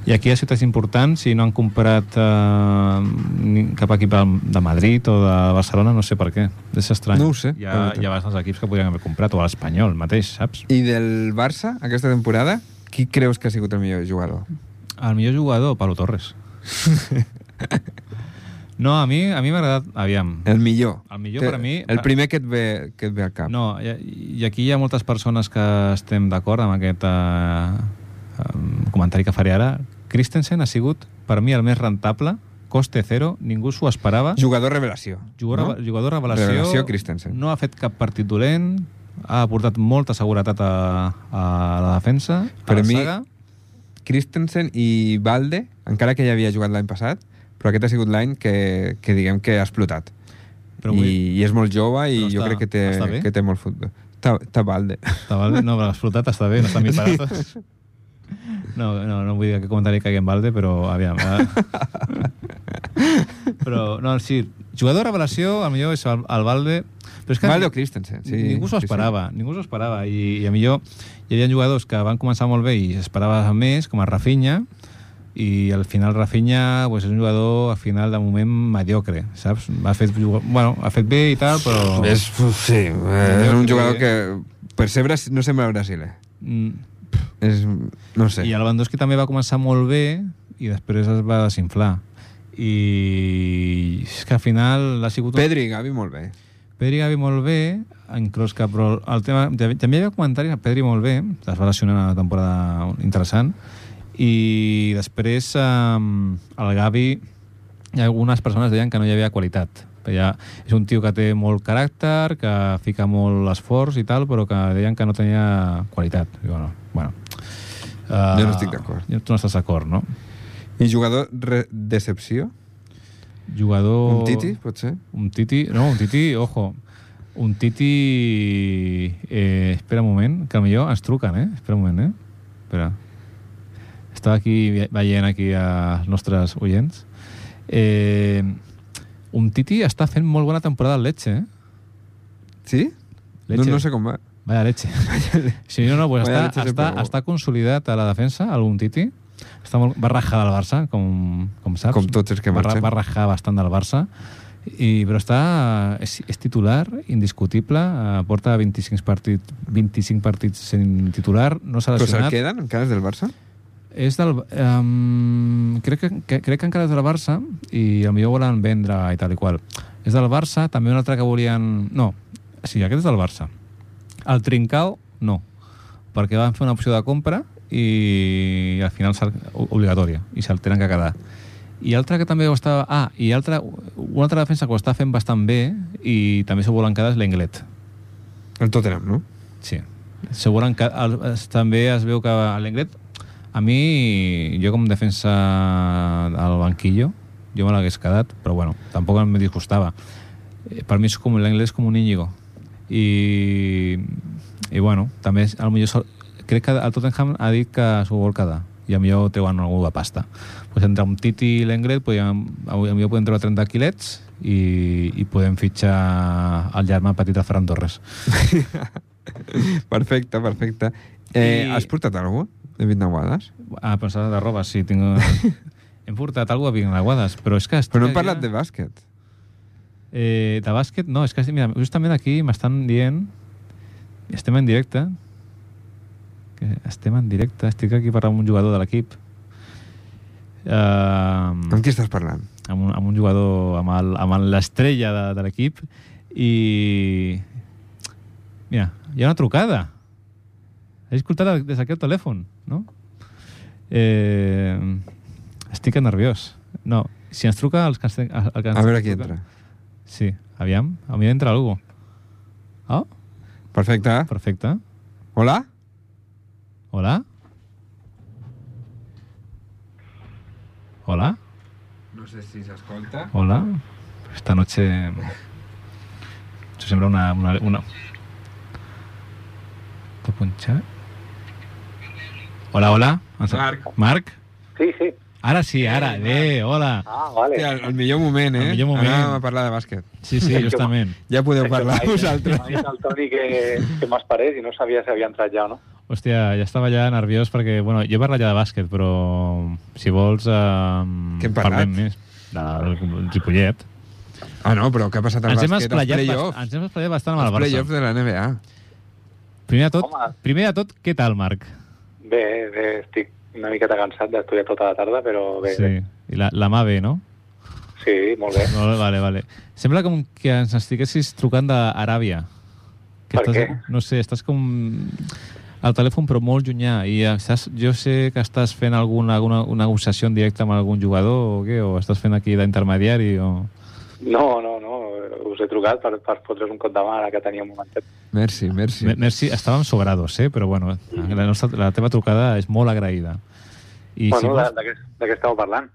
Speaker 1: I aquí a ciutats importants, si no han comprat eh, ni- cap equip al- de Madrid o de Barcelona, no sé per què. És estrany.
Speaker 2: No ho sé,
Speaker 1: Hi
Speaker 2: la
Speaker 1: ha,
Speaker 2: veritat.
Speaker 1: hi ha bastants equips que podrien haver comprat, o a l'Espanyol mateix, saps?
Speaker 2: I del Barça, aquesta temporada, qui creus que ha sigut el millor jugador?
Speaker 1: El millor jugador, Pablo Torres. no, a mi a mi m'ha agradat... Aviam.
Speaker 2: El millor.
Speaker 1: El millor
Speaker 2: Te-
Speaker 1: per a mi- eh,
Speaker 2: El primer que et ve, que et ve al cap.
Speaker 1: No, i, i aquí hi ha moltes persones que estem d'acord amb aquest eh, em, comentari que faré ara. Christensen ha sigut, per mi, el més rentable, coste zero, ningú s'ho esperava.
Speaker 2: Jugador revelació.
Speaker 1: Jugador, no? jugador revelació,
Speaker 2: Revelació Christensen.
Speaker 1: no ha fet cap partit dolent, ha aportat molta seguretat a, a la defensa, a
Speaker 2: Per
Speaker 1: la
Speaker 2: mi,
Speaker 1: saga.
Speaker 2: Christensen i Valde, encara que ja havia jugat l'any passat, però aquest ha sigut l'any que, que diguem que ha explotat.
Speaker 1: Però
Speaker 2: I,
Speaker 1: vull-
Speaker 2: I és molt jove i
Speaker 1: Però
Speaker 2: jo
Speaker 1: està-
Speaker 2: crec que té,
Speaker 1: està bé?
Speaker 2: que té molt futbol. Està, està Valde.
Speaker 1: Està val- No, però explotat està bé, no està a mi parades. No, no, no vull dir que comentari caigui en balde, però aviam. Eh? però, no, sí, jugador revelació, al millor és el, el balde... Però és que
Speaker 2: Valdo Christensen, sí.
Speaker 1: ningú s'ho
Speaker 2: sí, sí.
Speaker 1: esperava, ningú s'ho esperava, i, i a millor hi havia jugadors que van començar molt bé i s'esperava més, com a Rafinha, i al final Rafinha pues, és un jugador al final de moment mediocre, saps? Ha fet, jugo- bueno, ha fet bé i tal, però...
Speaker 2: És, sí, eh, és un jugador que per ser Brasil, no sembla brasiler.
Speaker 1: Mm,
Speaker 2: És, no ho sé.
Speaker 1: Sí. I el Lewandowski també va començar molt bé i després es va desinflar. I és que al final ha sigut... Un...
Speaker 2: Pedri i Gavi molt bé.
Speaker 1: Pedri Gavi molt bé, en Kroska, però el tema... També hi havia comentaris, el Pedri molt bé, es va lesionar en una temporada interessant, i després um, el Gavi, hi ha algunes persones deien que no hi havia qualitat. Ja, és un tio que té molt caràcter, que fica molt esforç i tal, però que deien que no tenia qualitat. I bueno, bueno. Uh,
Speaker 2: Jo no estic d'acord.
Speaker 1: Tu no estàs d'acord, no?
Speaker 2: I jugador re decepció?
Speaker 1: Jugador...
Speaker 2: Un Titi, potser?
Speaker 1: Un Titi, no, un Titi, ojo. Un Titi... Eh, espera un moment, que millor ens truquen, eh? Espera un moment, eh? Espera. Estava aquí ve- veient aquí als nostres oients. Eh, un Titi està fent molt bona temporada al Lecce, eh?
Speaker 2: Sí? No,
Speaker 1: Leche.
Speaker 2: no sé com va.
Speaker 1: Vaya Lecce. Sí, no, no, pues està,
Speaker 2: Vaya Lecce sempre
Speaker 1: està,
Speaker 2: bo.
Speaker 1: està consolidat a la defensa, algun Titi. Està molt, va rajar del Barça, com, com saps.
Speaker 2: Com tots els que
Speaker 1: va, ra-
Speaker 2: marxen.
Speaker 1: va rajar bastant del Barça. I, però està, és, és titular, indiscutible, eh, porta 25 partits, 25 partits sent titular, no s'ha
Speaker 2: Però se'l
Speaker 1: lesionat.
Speaker 2: queden encara és del Barça?
Speaker 1: És del, um, crec, que, que, crec que encara és del Barça i potser volen vendre i tal i qual. És del Barça, també un altre que volien... No, sí, aquest és del Barça. El Trincao, no, perquè van fer una opció de compra i al final s'ha- obligatòria i se'l tenen que quedar. I altre que també ho estava... Ah, i altra, una altra defensa que ho està fent bastant bé i també s'ho volen quedar és l'Englet.
Speaker 2: El Tottenham, no?
Speaker 1: Sí. Seguren que el, es, també es veu que l'Englet, a mi, jo com defensa al banquillo, jo me l'hagués quedat, però bueno, tampoc em disgustava. Eh, Per mi és com l'anglès com un Íñigo. I, i bueno, també és, a lo millor sol, crec que el Tottenham ha dit que s'ho vol quedar i a millor treuen algú de pasta. Pues entre un Titi i l'Englet podíem, a lo millor podem treure 30 quilets i, i podem fitxar el germà petit de Ferran Torres.
Speaker 2: Perfecte, perfecte. Eh,
Speaker 1: I-
Speaker 2: Has portat algú de Vitnaguades?
Speaker 1: Ah, pensava de roba, sí, tinc... Hem portat alguna cosa a Vignaguades, però és que... estic
Speaker 2: Però no hem
Speaker 1: aquí-
Speaker 2: parlat de bàsquet.
Speaker 1: Eh, de bàsquet, no, és que mira, justament aquí m'estan dient... Estem en directe. Que estem en directe, estic aquí parlant amb un jugador de l'equip. Uh,
Speaker 2: Amb qui estàs parlant?
Speaker 1: amb, un, amb un jugador, amb el- amb el- l'estrella de, de l'equip, i... Mira, hi ha una trucada. He escoltat des d'aquest telèfon, no? Eh, estic nerviós. No, si ens truca... Els que ens, el que ens
Speaker 2: A veure qui
Speaker 1: truca-
Speaker 2: entra.
Speaker 1: Sí, aviam. A mi entra algú. Oh,
Speaker 2: Perfecte.
Speaker 1: perfecte.
Speaker 2: Hola?
Speaker 1: Hola? Hola?
Speaker 2: No sé si s'escolta.
Speaker 1: Hola. Esta noche se sembra una... una, una... ¿Te punxa? Hola, hola. Ens-
Speaker 2: Marc.
Speaker 1: Marc?
Speaker 6: Sí, sí.
Speaker 1: Ara sí, ara. Bé, hola.
Speaker 6: Ah, vale.
Speaker 2: Hòstia, el, el millor moment, eh?
Speaker 1: El millor moment.
Speaker 2: Anàvem a parlar de bàsquet.
Speaker 1: Sí, sí, justament.
Speaker 2: Ja podeu parlar
Speaker 6: Ahí-
Speaker 2: vosaltres.
Speaker 6: ahí está el Toni que, que más parés y no sabía si había entrado ya o no.
Speaker 1: Hòstia, ja estava ja nerviós perquè... Bueno, jo he parlat ja de bàsquet, però si vols... Eh,
Speaker 2: Què hem parlat?
Speaker 1: Parlem més del del Ripollet.
Speaker 2: Ah, no, però què ha passat al
Speaker 1: Ens hem,
Speaker 2: bàsquet? Els
Speaker 1: esplayat, bast-
Speaker 2: play-offs.
Speaker 1: ens hem esplayat bastant amb
Speaker 2: Els
Speaker 1: el
Speaker 2: play-offs
Speaker 1: Barça.
Speaker 2: de la NBA.
Speaker 1: Primer de tot,
Speaker 6: Home.
Speaker 1: primer de tot què tal, Marc?
Speaker 6: Bé, bé, estic una miqueta cansat d'estudiar tota la tarda, però bé,
Speaker 1: Sí,
Speaker 6: bé.
Speaker 1: i la, la mà bé, no?
Speaker 6: sí molt bé.
Speaker 1: Vale, vale, vale. Sembla com que ens estiguessis trucant d'Aràbia. Que
Speaker 6: Per
Speaker 1: estàs,
Speaker 6: què?
Speaker 1: No sé, estàs com al telèfon però molt llunyà i estàs, jo sé que estàs fent alguna, alguna una negociació en directe amb algun jugador o què, o estàs fent aquí d'intermediari o...
Speaker 6: No, no, no, us he trucat per, per fotre's un cop de mà ara que tenia un momentet.
Speaker 2: Merci, merci.
Speaker 1: Sí. Merci, estàvem sobrados, eh? però bueno, la, nostra, la teva trucada és molt agraïda. I
Speaker 6: bueno,
Speaker 1: vols-
Speaker 6: de, de, què, de què estàveu parlant?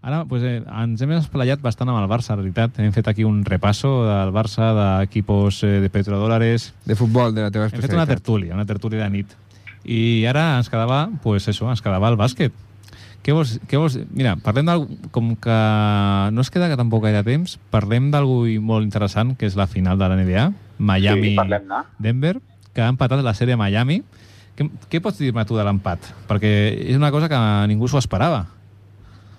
Speaker 1: Ara pues, eh, ens hem esplayat bastant amb el Barça, en realitat. Hem fet aquí un repasso del Barça, d'equipos eh, de petrodòlares...
Speaker 2: De futbol, de la teva
Speaker 1: Hem fet una
Speaker 2: especialitat.
Speaker 1: tertúlia, una tertúlia de nit. I ara ens quedava, pues això, ens quedava el bàsquet. Què vols, què vols... Mira, parlem del... Com que no es queda que tampoc gaire temps, parlem d'algú molt interessant, que és la final de la NBA,
Speaker 6: Sí, parlem-ne.
Speaker 1: Miami-Denver, que ha empatat la sèrie a Miami. Què, què pots dir-me tu de l'empat? Perquè és una cosa que ningú s'ho esperava.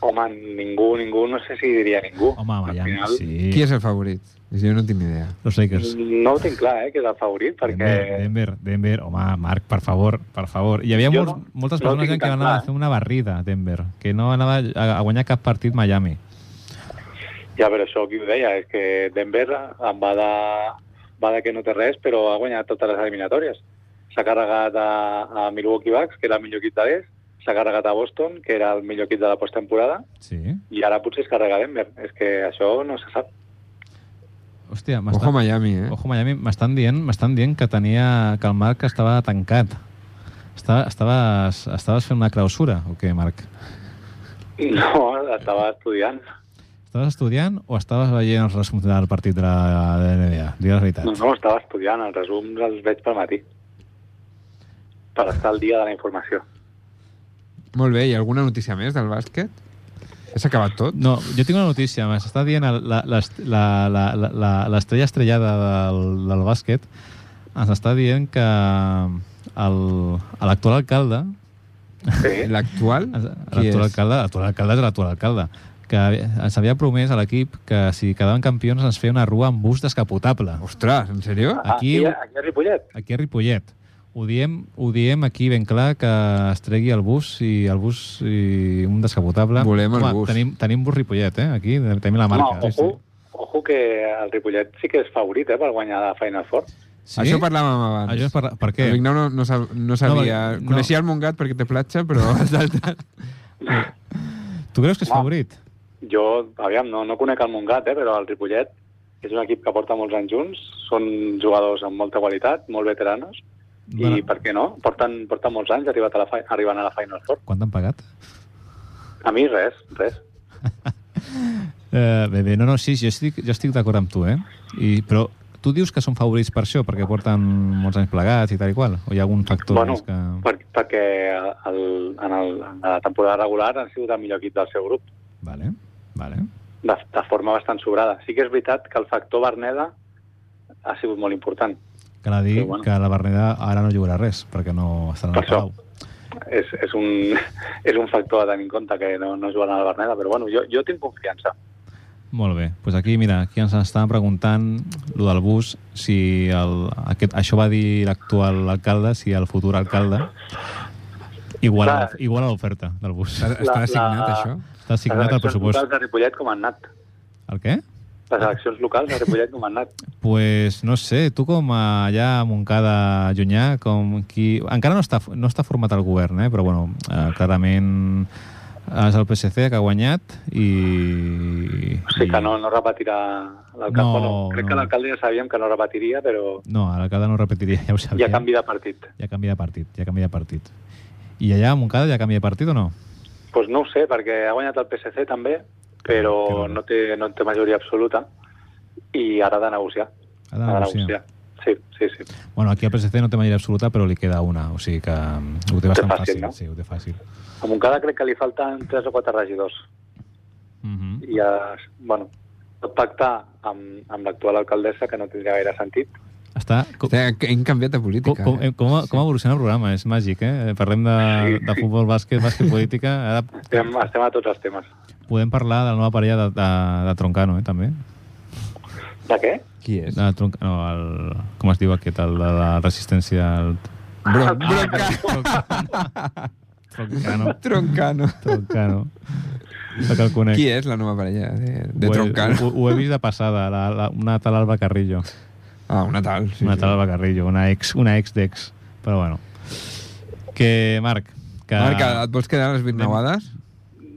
Speaker 6: Home, ningú, ningú, no sé si diria ningú.
Speaker 1: Home,
Speaker 6: Al
Speaker 1: Miami,
Speaker 6: final,
Speaker 1: sí.
Speaker 2: Qui és el favorit? Jo no tinc ni idea.
Speaker 1: Los Lakers.
Speaker 6: No ho tinc clar, eh, que és el favorit, perquè...
Speaker 1: Denver, Denver, Denver, home, Marc, per favor, per favor. Hi havia
Speaker 6: Jo
Speaker 1: molts,
Speaker 6: no-
Speaker 1: moltes
Speaker 6: no
Speaker 1: persones
Speaker 6: tinc
Speaker 1: que
Speaker 6: tan
Speaker 1: van
Speaker 6: clar,
Speaker 1: anar a
Speaker 6: eh.
Speaker 1: fer una barrida, Denver, que no anava a, a guanyar cap partit Miami.
Speaker 6: Ja, però això qui ho deia, és que Denver em va de, va de que no té res, però ha guanyat totes les eliminatòries. S'ha carregat a, a Milwaukee Bucks, que era el millor equip de l'est, s'ha carregat a Boston, que era el millor equip de la posttemporada,
Speaker 1: Sí.
Speaker 6: i ara potser es carrega Denver. És que això no se sap.
Speaker 1: Hòstia,
Speaker 2: Ojo
Speaker 1: m'estan...
Speaker 2: Miami, eh?
Speaker 1: Ojo Miami, m'estan dient, m'estan dient que tenia que el Marc estava tancat. Estava, estaves, estaves fent una clausura, o què, Marc?
Speaker 6: No, estava estudiant.
Speaker 1: Estaves estudiant o estaves veient els resums del partit de la, de la NBA? Digues la veritat.
Speaker 6: No, no, estava estudiant. Els resums els veig pel matí. Per estar al dia de la informació.
Speaker 2: Molt bé, i alguna notícia més del bàsquet? Ja s'ha acabat tot?
Speaker 1: No, jo tinc una notícia. M'està dient el- la- l'est- la- la- la- la- l'estrella estrellada del, del bàsquet ens està dient que el- a l'actual alcalde
Speaker 6: Sí.
Speaker 2: L'actual?
Speaker 1: ens-
Speaker 2: Qui
Speaker 1: l'actual
Speaker 2: és?
Speaker 1: alcalde, l'actual alcalde és l'actual alcalde que ens havia promès a l'equip que si quedaven campions ens feia una rua amb bus descapotable
Speaker 2: Ostres, en sèrio?
Speaker 1: Aquí-
Speaker 6: Ah, aquí, aquí a Ripollet.
Speaker 1: aquí a Ripollet ho diem, ho diem aquí ben clar que es tregui el bus i el bus i un descapotable
Speaker 2: Volem el bus.
Speaker 1: tenim, tenim bus Ripollet eh? aquí tenim la marca
Speaker 6: No, ojo, ojo que el Ripollet sí que és favorit eh, per guanyar la Final Four.
Speaker 1: Sí?
Speaker 2: Això parlàvem abans.
Speaker 1: Això és per, per què?
Speaker 2: El Vignau no, no, sab no sabia...
Speaker 1: perquè-
Speaker 2: No,
Speaker 1: no.
Speaker 2: Coneixia el Montgat perquè té platja, però els altres...
Speaker 1: Tu creus que és
Speaker 6: Home.
Speaker 1: favorit?
Speaker 6: Jo, aviam, no, no conec el Montgat, eh, però el Ripollet és un equip que porta molts anys junts, són jugadors amb molta qualitat, molt veteranos, i
Speaker 1: Bueno.
Speaker 6: per què no? Porten, porten molts anys arribat a la fi, arribant a la Final Four.
Speaker 1: Quant t'han pagat?
Speaker 6: A mi res, res.
Speaker 1: Eh, bé, bé, no, no, sí, jo estic, jo estic d'acord amb tu, eh? I, però tu dius que són favorits per això, perquè porten molts anys plegats i tal i qual? O hi ha algun factor
Speaker 6: bueno,
Speaker 1: més que...
Speaker 6: per, perquè el, en, el, en la temporada regular han sigut el millor equip del seu grup,
Speaker 1: Vale, vale.
Speaker 6: de, de forma bastant sobrada. Sí que és veritat que el factor Berneda ha sigut molt important.
Speaker 1: Cal dir
Speaker 6: Però bueno.
Speaker 1: que la Berneda ara no jugarà res, perquè no estarà
Speaker 6: Per
Speaker 1: al Palau.
Speaker 6: és, és, un, és un factor a tenir en compte que no, no juguen a la Berneda, però bueno, jo, jo tinc confiança.
Speaker 1: Molt bé. Doncs pues aquí, mira, aquí ens estaven preguntant lo del bus, si el, aquest, això va dir l'actual alcalde, si el futur alcalde igual,
Speaker 6: Clar.
Speaker 1: igual a l'oferta del bus.
Speaker 2: Estarà
Speaker 6: La-
Speaker 2: estarà assignat,
Speaker 6: la-
Speaker 2: això?
Speaker 1: Està assignat al
Speaker 6: Les eleccions
Speaker 1: pressupost.
Speaker 6: locals de Ripollet com han anat.
Speaker 1: El què? Ah.
Speaker 6: Les eleccions locals de Ripollet com han anat.
Speaker 1: Pues no sé, tu com a allà a Montcada, Llunyà, com qui... Encara no està, no està format el govern, eh? però bueno, eh, clarament és el PSC que ha guanyat i...
Speaker 6: O sigui que
Speaker 1: i-
Speaker 6: no, no repetirà l'alcalde.
Speaker 1: No,
Speaker 6: bueno, crec que
Speaker 1: no.
Speaker 6: l'alcalde ja sabíem que no repetiria, però
Speaker 1: No, a l'alcalde no ho repetiria, ja ho
Speaker 6: hi
Speaker 1: sabia.
Speaker 6: ha canvi de partit.
Speaker 1: Hi ha canvi de partit, hi ha canvi de partit. I allà a Montcada hi ha canvi de partit o no?
Speaker 6: Doncs pues no ho sé, perquè ha guanyat el PSC també, però
Speaker 1: Clar,
Speaker 6: no té, no té majoria absoluta i ara ha de negociar.
Speaker 1: Ha de negociar.
Speaker 6: Sí, sí, sí.
Speaker 1: Bueno, aquí el PSC no té majoria absoluta, però li queda una, o sigui que mm, ho té bastant
Speaker 6: fàcil,
Speaker 1: fàcil.
Speaker 6: no?
Speaker 1: Sí, ho té fàcil.
Speaker 6: A Montcada crec que li falten 3 o 4 regidors.
Speaker 1: Mhm.
Speaker 6: i a, bueno, pot pactar amb, amb l'actual alcaldessa, que no tindria gaire sentit.
Speaker 1: Està...
Speaker 2: Hòstia, Hem canviat de política.
Speaker 1: Com,
Speaker 2: eh?
Speaker 1: com, com, com evoluciona el programa? És màgic, eh? Parlem de, de futbol, bàsquet, bàsquet, política. Ara
Speaker 6: Estem, estem a tots els temes.
Speaker 1: podem parlar de la nova parella de, de, de Troncano, eh, també.
Speaker 6: De què?
Speaker 2: Qui és?
Speaker 1: De Tronc, no, el, com es diu aquest, el de la resistència al
Speaker 2: Bron
Speaker 1: Troncano.
Speaker 2: Troncano.
Speaker 1: Troncano. No que el conec.
Speaker 2: Qui és la nova parella de, de
Speaker 1: Ho he-
Speaker 2: Troncano?
Speaker 1: Ho, ho, he vist de passada, la, la, una tal Alba Carrillo.
Speaker 2: Ah, una tal. Sí,
Speaker 1: una
Speaker 2: sí.
Speaker 1: tal Alba Carrillo, una ex, una ex d'ex. Però bueno. Que, Marc, que...
Speaker 2: Marc, et vols quedar a les bitnauades?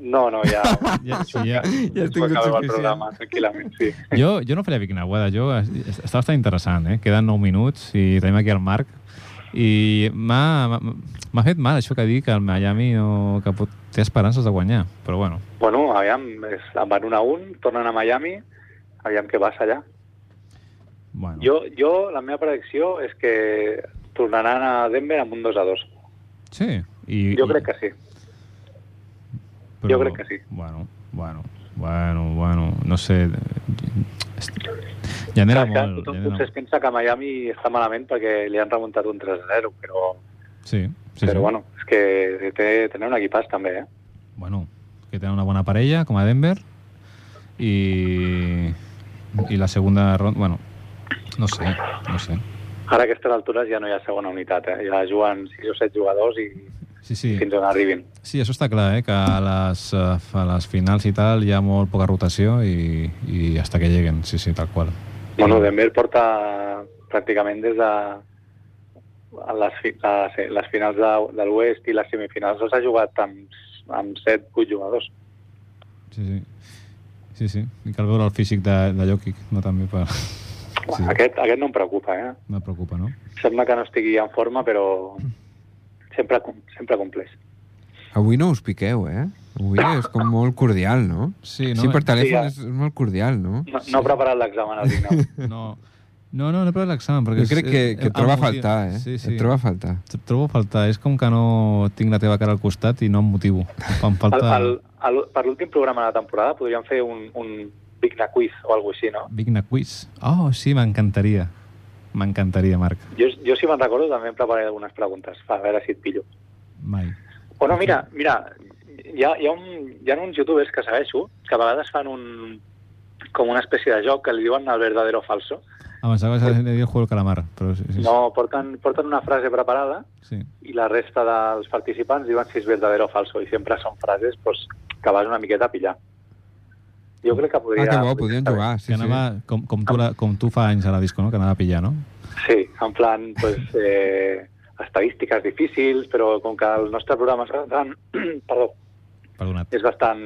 Speaker 6: No, no, ja...
Speaker 1: ja, sí, ja,
Speaker 2: Ja has tingut
Speaker 6: acabeu
Speaker 2: suficient.
Speaker 6: el programa, tranquil·lament, sí.
Speaker 1: Jo, jo no faria Vic Naguada, jo, està bastant interessant, eh? Queden 9 minuts i tenim aquí el Marc. I m'ha m'ha- m'ha fet mal això que dir que el Miami no, que pot, té esperances de guanyar, però bueno.
Speaker 6: Bueno, aviam, és, en van un a un, tornen a Miami, aviam què passa allà.
Speaker 1: bueno.
Speaker 6: Jo, jo, la meva predicció és que tornaran a Denver amb un 2 a 2.
Speaker 1: Sí. I,
Speaker 6: Jo
Speaker 1: i-
Speaker 6: crec que sí. jo crec que sí.
Speaker 1: Bueno, bueno, bueno, bueno, no sé... Genera
Speaker 6: Clar, clar,
Speaker 1: molt.
Speaker 6: tothom
Speaker 1: Genera...
Speaker 6: potser es pensa que Miami està malament perquè li han remuntat un 3-0, però,
Speaker 1: Sí, sí,
Speaker 6: sí,
Speaker 1: sí.
Speaker 6: però sí. bueno, és que té, tenen un equipàs també, eh?
Speaker 1: bueno, que tenen una bona parella, com a Denver, i, i la segunda ronda... Bueno, no sé, no sé.
Speaker 6: Ara a aquestes altures ja no hi ha segona unitat, eh? Ja juguen 6 o 7 jugadors i
Speaker 1: Sí, sí.
Speaker 6: fins on arribin.
Speaker 1: Sí, això està clar, eh? que a les, eh, a les finals i tal hi ha molt poca rotació i, i hasta que lleguen, sí, sí, tal qual.
Speaker 6: Bueno, Denver porta pràcticament des de a les, fi- a se- les finals de, de l'Oest i les semifinals els ha jugat amb, amb 7-8 jugadors.
Speaker 1: Sí, sí. Sí, sí. I cal veure el físic de, de Jokic, no també per... Sí,
Speaker 6: Sí. Aquest, aquest no em preocupa, eh?
Speaker 1: no preocupa, no?
Speaker 6: Sembla que no estigui en forma, però sempre, com- sempre compleix.
Speaker 2: Avui no us piqueu, eh? Avui és com molt cordial, no?
Speaker 1: Sí, no? eh?
Speaker 2: sí per telèfon
Speaker 6: Sí,
Speaker 2: és és molt cordial, no?
Speaker 6: No, no ha preparat l'examen al final.
Speaker 1: No, no, no, no he provat l'examen. perquè
Speaker 2: Jo crec
Speaker 1: és-
Speaker 2: que,
Speaker 1: és-
Speaker 2: que et troba a
Speaker 1: emotiu.
Speaker 2: faltar, eh?
Speaker 1: Sí, sí.
Speaker 2: Et troba a faltar.
Speaker 1: Et trobo a faltar. És com que no tinc la teva cara al costat i no em motivo. Em
Speaker 6: El,
Speaker 1: falta...
Speaker 6: el, el, per l'últim programa de la temporada podríem fer un, un Big Na Quiz o alguna així, no?
Speaker 1: Vigna Quiz. Oh, sí, m'encantaria. M'encantaria, Marc.
Speaker 6: Jo, jo si me'n recordo també em prepararé algunes preguntes, a veure si et pillo.
Speaker 1: Mai.
Speaker 6: O no, mira, mira, hi ha, hi ha, un, hi ha uns youtubers que segueixo que a vegades fan un, com una espècie de joc que li diuen el verdadero o falso.
Speaker 1: Ah, pensava que s'havia el juego del calamar, però sí, sí,
Speaker 6: No, porten, porten una frase preparada
Speaker 1: sí.
Speaker 6: i la resta dels participants diuen si és verdadero o falso i sempre són frases pues, que vas una miqueta a pillar. Jo crec que podria...
Speaker 2: Ah, que bo, podien
Speaker 6: estar bé.
Speaker 2: jugar,
Speaker 1: Sí, que
Speaker 2: sí, sí.
Speaker 1: anava, com, com, tu la, com tu fa anys a la disco, no? que anava a pillar, no?
Speaker 6: Sí, en plan, pues, eh, estadístiques difícils, però com que el nostre programa és bastant, perdó,
Speaker 1: Perdonat.
Speaker 6: és bastant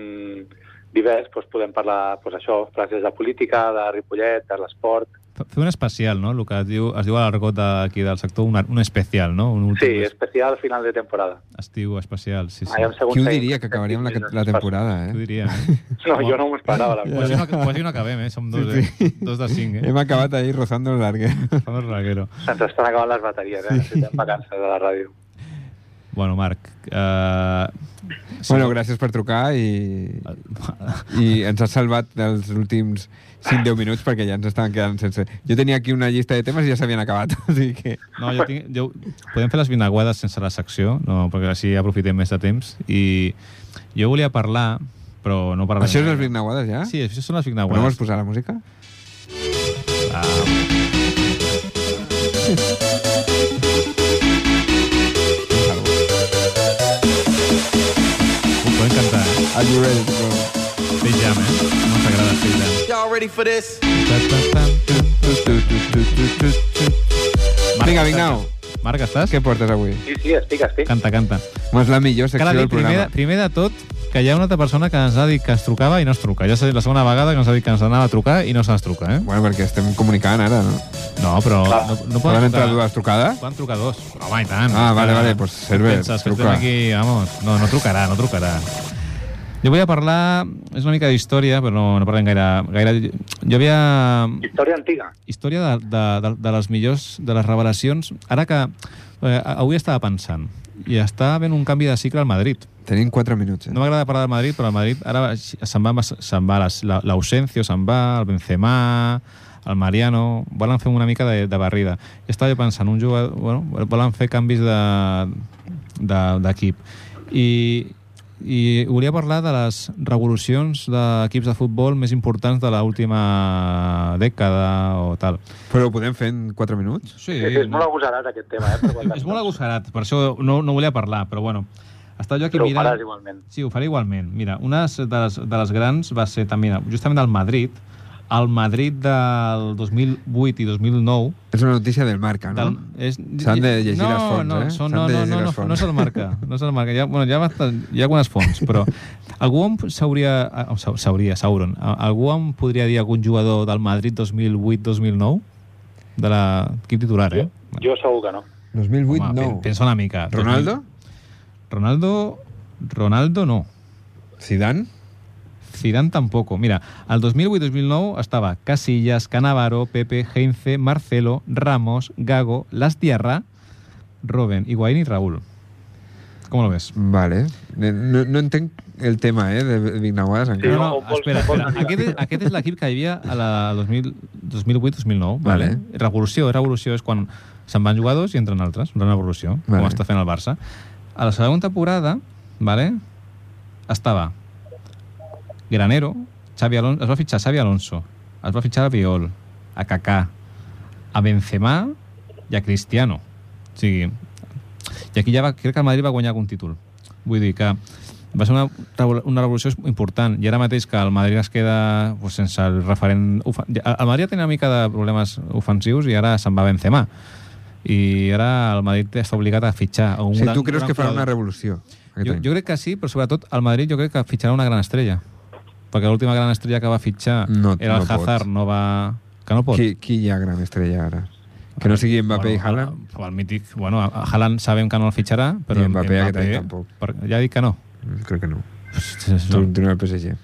Speaker 6: divers, doncs podem parlar doncs això, frases de política, de Ripollet, de l'esport...
Speaker 1: F- Fer un especial, no? El que es diu, es diu a l'argot d'aquí del sector, un, un especial, no? Un últim
Speaker 6: Sí, Ah, especial final de temporada.
Speaker 1: estiu especial, sí, sí.
Speaker 6: Aviam si algun
Speaker 2: Qui ho
Speaker 6: seguim.
Speaker 2: diria, que acabaríem la, la temporada,
Speaker 1: Ho
Speaker 2: eh?
Speaker 1: diria, eh?
Speaker 6: No, jo no m'ho esperava, la
Speaker 1: Quasi
Speaker 6: veritat.
Speaker 1: no, quasi no acabem, eh? Som dos,
Speaker 2: Sí, sí.
Speaker 1: eh? Dos de cinc, eh?
Speaker 2: Hem acabat ahir rozando el larguer.
Speaker 1: Fem el reguero.
Speaker 6: Se'ns estan acabant les bateries, eh? Necessitem vacances a la ràdio.
Speaker 1: Bueno, Marc, eh, sí.
Speaker 2: Bueno, gràcies per trucar i,
Speaker 1: Ah,
Speaker 2: i ens has salvat dels últims 5-10 minuts perquè ja ens estaven quedant sense... Jo tenia aquí una llista de temes i ja s'havien acabat, o sigui que...
Speaker 1: no, jo tinc, jo, podem fer les vinaguades sense la secció, no, perquè així aprofitem més de temps. I jo volia parlar, però no parlarem.
Speaker 2: Això és les Brinauades, ja?
Speaker 1: Sí, això són les
Speaker 2: Però no
Speaker 1: vinaguades.
Speaker 2: vols
Speaker 1: Ah.
Speaker 2: posar la música?
Speaker 1: Ho podem cantar, eh?
Speaker 2: Are you ready to go?
Speaker 1: Space Jam, eh? No ens agrada Space Jam.
Speaker 4: Y'all ready for this?
Speaker 1: Ta, ta, ta. Marc,
Speaker 2: Vinga, Vignau,
Speaker 1: Marc, estàs?
Speaker 2: què portes avui?
Speaker 6: Sí, sí, estic, estic.
Speaker 1: Canta, canta.
Speaker 2: Mas la millor secció
Speaker 1: Cal dir
Speaker 2: del
Speaker 1: primer, de-
Speaker 2: programa.
Speaker 1: primer de tot que hi ha una altra persona que ens ha dit que ens trucava i no ens truca. Ja s'ha dit la segona vegada que ens ha dit que ens anava a trucar i no se'ns truca, eh?
Speaker 2: Bueno, perquè estem comunicant ara, no?
Speaker 1: No, però
Speaker 6: Clar.
Speaker 1: no, no
Speaker 2: Poden
Speaker 1: poden
Speaker 2: entrar
Speaker 1: trucar.
Speaker 2: dues trucades?
Speaker 1: Poden trucar dos. Home, i tant.
Speaker 2: Ah, vale,
Speaker 1: Que-
Speaker 2: vale, pues serve,
Speaker 1: Què Penses, que estem
Speaker 2: truca.
Speaker 1: aquí, vamos. No, no trucarà, no trucarà. Jo voy a parlar... És una mica d'història, però no, no parlem gaire... gaire... Jo havia
Speaker 6: Història antiga.
Speaker 1: història de, de, de, de les millors, de les revelacions. Ara que eh, avui estava pensant i està havent un canvi de cicle al Madrid.
Speaker 2: Tenim 4 minuts, eh?
Speaker 1: No m'agrada parlar del Madrid, però el Madrid ara se'n va, se'n va les- la- l'Ausencio, se'n va, el Benzema, el Mariano... Volen fer una mica de, de barrida. I estava jo pensant, un jugador... Bueno, volen fer canvis de- de- d'equip. De, I, i volia parlar de les revolucions d'equips de futbol més importants de l'última dècada o tal.
Speaker 2: Però ho podem fer en 4 minuts?
Speaker 1: Sí,
Speaker 6: Sí, és molt agosarat aquest tema, eh? per quan
Speaker 1: Eh. és molt agosarat, per això no, no volia parlar, però bueno, estava jo aquí
Speaker 6: Però ho
Speaker 1: mirant...
Speaker 6: faràs igualment.
Speaker 1: Sí, ho faré igualment. Mira, una de les, de les grans va ser també justament del Madrid, el Madrid del 2008 i 2009,
Speaker 2: És una notícia del Marca, no?
Speaker 1: del, és,
Speaker 2: S'han de llegir
Speaker 1: no,
Speaker 2: les fonts,
Speaker 1: no,
Speaker 2: eh?
Speaker 1: Són, no,
Speaker 2: S'han de
Speaker 1: no,
Speaker 2: llegir
Speaker 1: no,
Speaker 2: les
Speaker 1: no,
Speaker 2: fonts.
Speaker 1: no se'l marca. No se'l marca. Ja, bueno, ja bastant, hi ha algunes fonts, però algú em sabria, em sa- sabria, Sauron, a- algú em podria dir algun jugador del Madrid 2008-2009? De l'equip titular, eh?
Speaker 6: Jo segur que no.
Speaker 2: 2008,
Speaker 1: Home, pen-
Speaker 2: no.
Speaker 1: Pensa una mica.
Speaker 2: Ronaldo?
Speaker 1: Ronaldo, Ronaldo no.
Speaker 2: Zidane?
Speaker 1: Zidane tampoco. Mira, al 2008-2009 estava Casillas, Canavaro, Pepe, Heinze, Marcelo, Ramos, Gago, Las Diarra, Robben, Higuaín i Raúl. Com el ves?
Speaker 2: Vale. No, no entenc el tema, eh, de Vignaguas,
Speaker 1: No,
Speaker 2: encara.
Speaker 1: no,
Speaker 6: o vols-
Speaker 1: espera,
Speaker 6: o vols
Speaker 1: espera.
Speaker 6: anar?
Speaker 1: Aquest, és, aquest és l'equip que hi havia a la 2000 2008-2009. Vale.
Speaker 2: Vale.
Speaker 1: Revolució. Revolució és quan se'n van jugadors i entren altres. Una revolució, vale.
Speaker 2: Vale.
Speaker 1: com està fent el Barça. A la segona temporada, vale, estava Granero, Xavi Alonso, es va fitxar Xavi Alonso, es va fitxar a Viol, a Kaká, a Benzema i a Cristiano. O sigui, i aquí ja va, crec que el Madrid va guanyar algun títol. Vull dir que va ser una, revol- una revolució important i ara mateix que el Madrid es queda pues, sense el referent... ofen- ja- El Madrid tenia una mica de problemes ofensius i ara se'n va Benzema. I ara el Madrid està obligat a fitxar. a
Speaker 2: O
Speaker 1: Un
Speaker 2: sigui,
Speaker 1: gran-
Speaker 2: tu creus
Speaker 1: gran
Speaker 2: que farà una
Speaker 1: jugador.
Speaker 2: revolució? aquest
Speaker 1: Jo,
Speaker 2: any?
Speaker 1: jo crec que sí, però sobretot al Madrid jo crec que fitxarà una gran estrella. Perquè l'última gran estrella que va fitxar
Speaker 2: No-
Speaker 1: era el
Speaker 2: no pot.
Speaker 1: Hazard, no va... Que no pot.
Speaker 2: Qui, qui hi ha gran estrella ara? Que no sigui Mbappé i Haaland?
Speaker 1: El, el eh, mític, bueno, a- a Haaland sabem que no el fitxarà, però
Speaker 2: I Mbappé aquest any tampoc.
Speaker 1: Per, ja dic que no.
Speaker 2: Mm, Crec que no.
Speaker 1: Pues,
Speaker 2: Tu no. el PSG.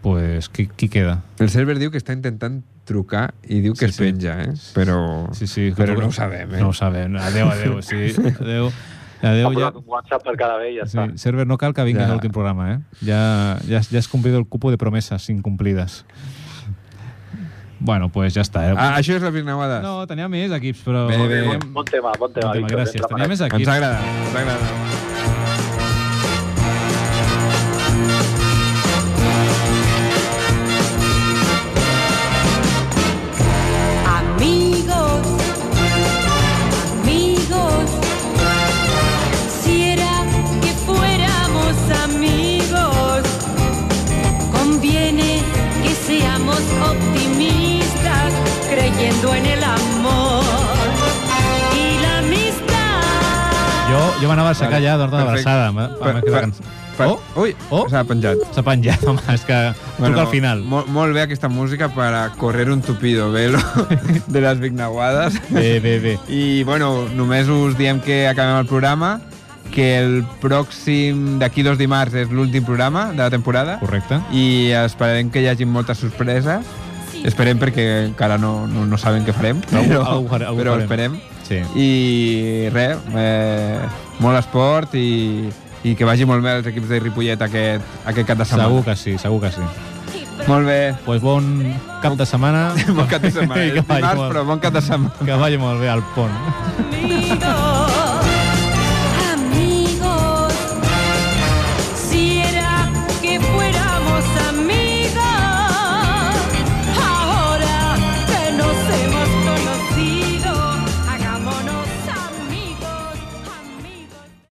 Speaker 1: pues qui, qui queda?
Speaker 2: El server diu que està intentant trucar i diu que
Speaker 1: Sí,
Speaker 2: es
Speaker 1: sí.
Speaker 2: penja, eh? Però,
Speaker 1: Sí, sí,
Speaker 2: però
Speaker 1: tu-
Speaker 2: no ho sabem, eh?
Speaker 1: No ho sabem. Adéu, adéu, sí. Adéu. Adéu,
Speaker 6: Ha
Speaker 1: ja.
Speaker 6: posat un WhatsApp per cada vell i ja
Speaker 1: Sí,
Speaker 6: està.
Speaker 1: server, no cal que vinguis
Speaker 2: Ja.
Speaker 1: a l'últim programa, eh? Ja, ja, has- ja has cumplido el cupo de promesas incumplidas. Bueno, pues ja està, eh?
Speaker 2: Ah, això és la Virnaguada.
Speaker 1: No, tenia més equips, però...
Speaker 2: Bé, bé.
Speaker 1: Bon
Speaker 6: Bon tema, bon tema,
Speaker 1: tema,
Speaker 6: Víctor.
Speaker 1: gràcies.
Speaker 6: Entra per
Speaker 1: Tenia més
Speaker 2: Ens
Speaker 1: equips.
Speaker 2: ha agradat, ens ha agradat.
Speaker 7: Amigos, amigos, quisiera que fuéramos amigos. Conviene que seamos optimistas, creyendo en el amor y la amistad.
Speaker 1: Jo, jo m'anava a aixecar
Speaker 2: Vale,
Speaker 1: ja d'hora
Speaker 2: perfecte.
Speaker 1: d'abraçada. amb- amb
Speaker 2: Per-
Speaker 1: aquesta
Speaker 2: per-
Speaker 1: cançó.
Speaker 2: per-
Speaker 1: Oh,
Speaker 2: Ui,
Speaker 1: Oh.
Speaker 2: s'ha penjat.
Speaker 1: s'ha penjat, home, és que toca al final.
Speaker 2: Molt, molt bé aquesta música per a correr un tupido velo de les Vignaguades.
Speaker 1: Bé, bé, bé.
Speaker 2: I, bueno, només us diem que acabem el programa, que el pròxim d'aquí dos dimarts és l'últim programa de la temporada
Speaker 1: Correcte.
Speaker 2: i esperem que hi hagi moltes sorpreses. Esperem perquè encara no, no, no sabem què farem,
Speaker 1: Però algú-
Speaker 2: però,
Speaker 1: algú farem, algú
Speaker 2: però
Speaker 1: farem.
Speaker 2: esperem.
Speaker 1: Sí.
Speaker 2: I res, eh, molt esport i, i que vagi molt bé els equips de Ripollet aquest, aquest cap de setmana.
Speaker 1: Segur que sí, segur que sí.
Speaker 2: Molt bé.
Speaker 1: Pues bon cap de setmana.
Speaker 2: Bon cap de setmana.
Speaker 1: I
Speaker 2: És
Speaker 1: que vagi
Speaker 2: dimarts,
Speaker 1: molt,
Speaker 2: però bon cap de setmana.
Speaker 1: que vagi molt bé al pont.
Speaker 7: Amigos.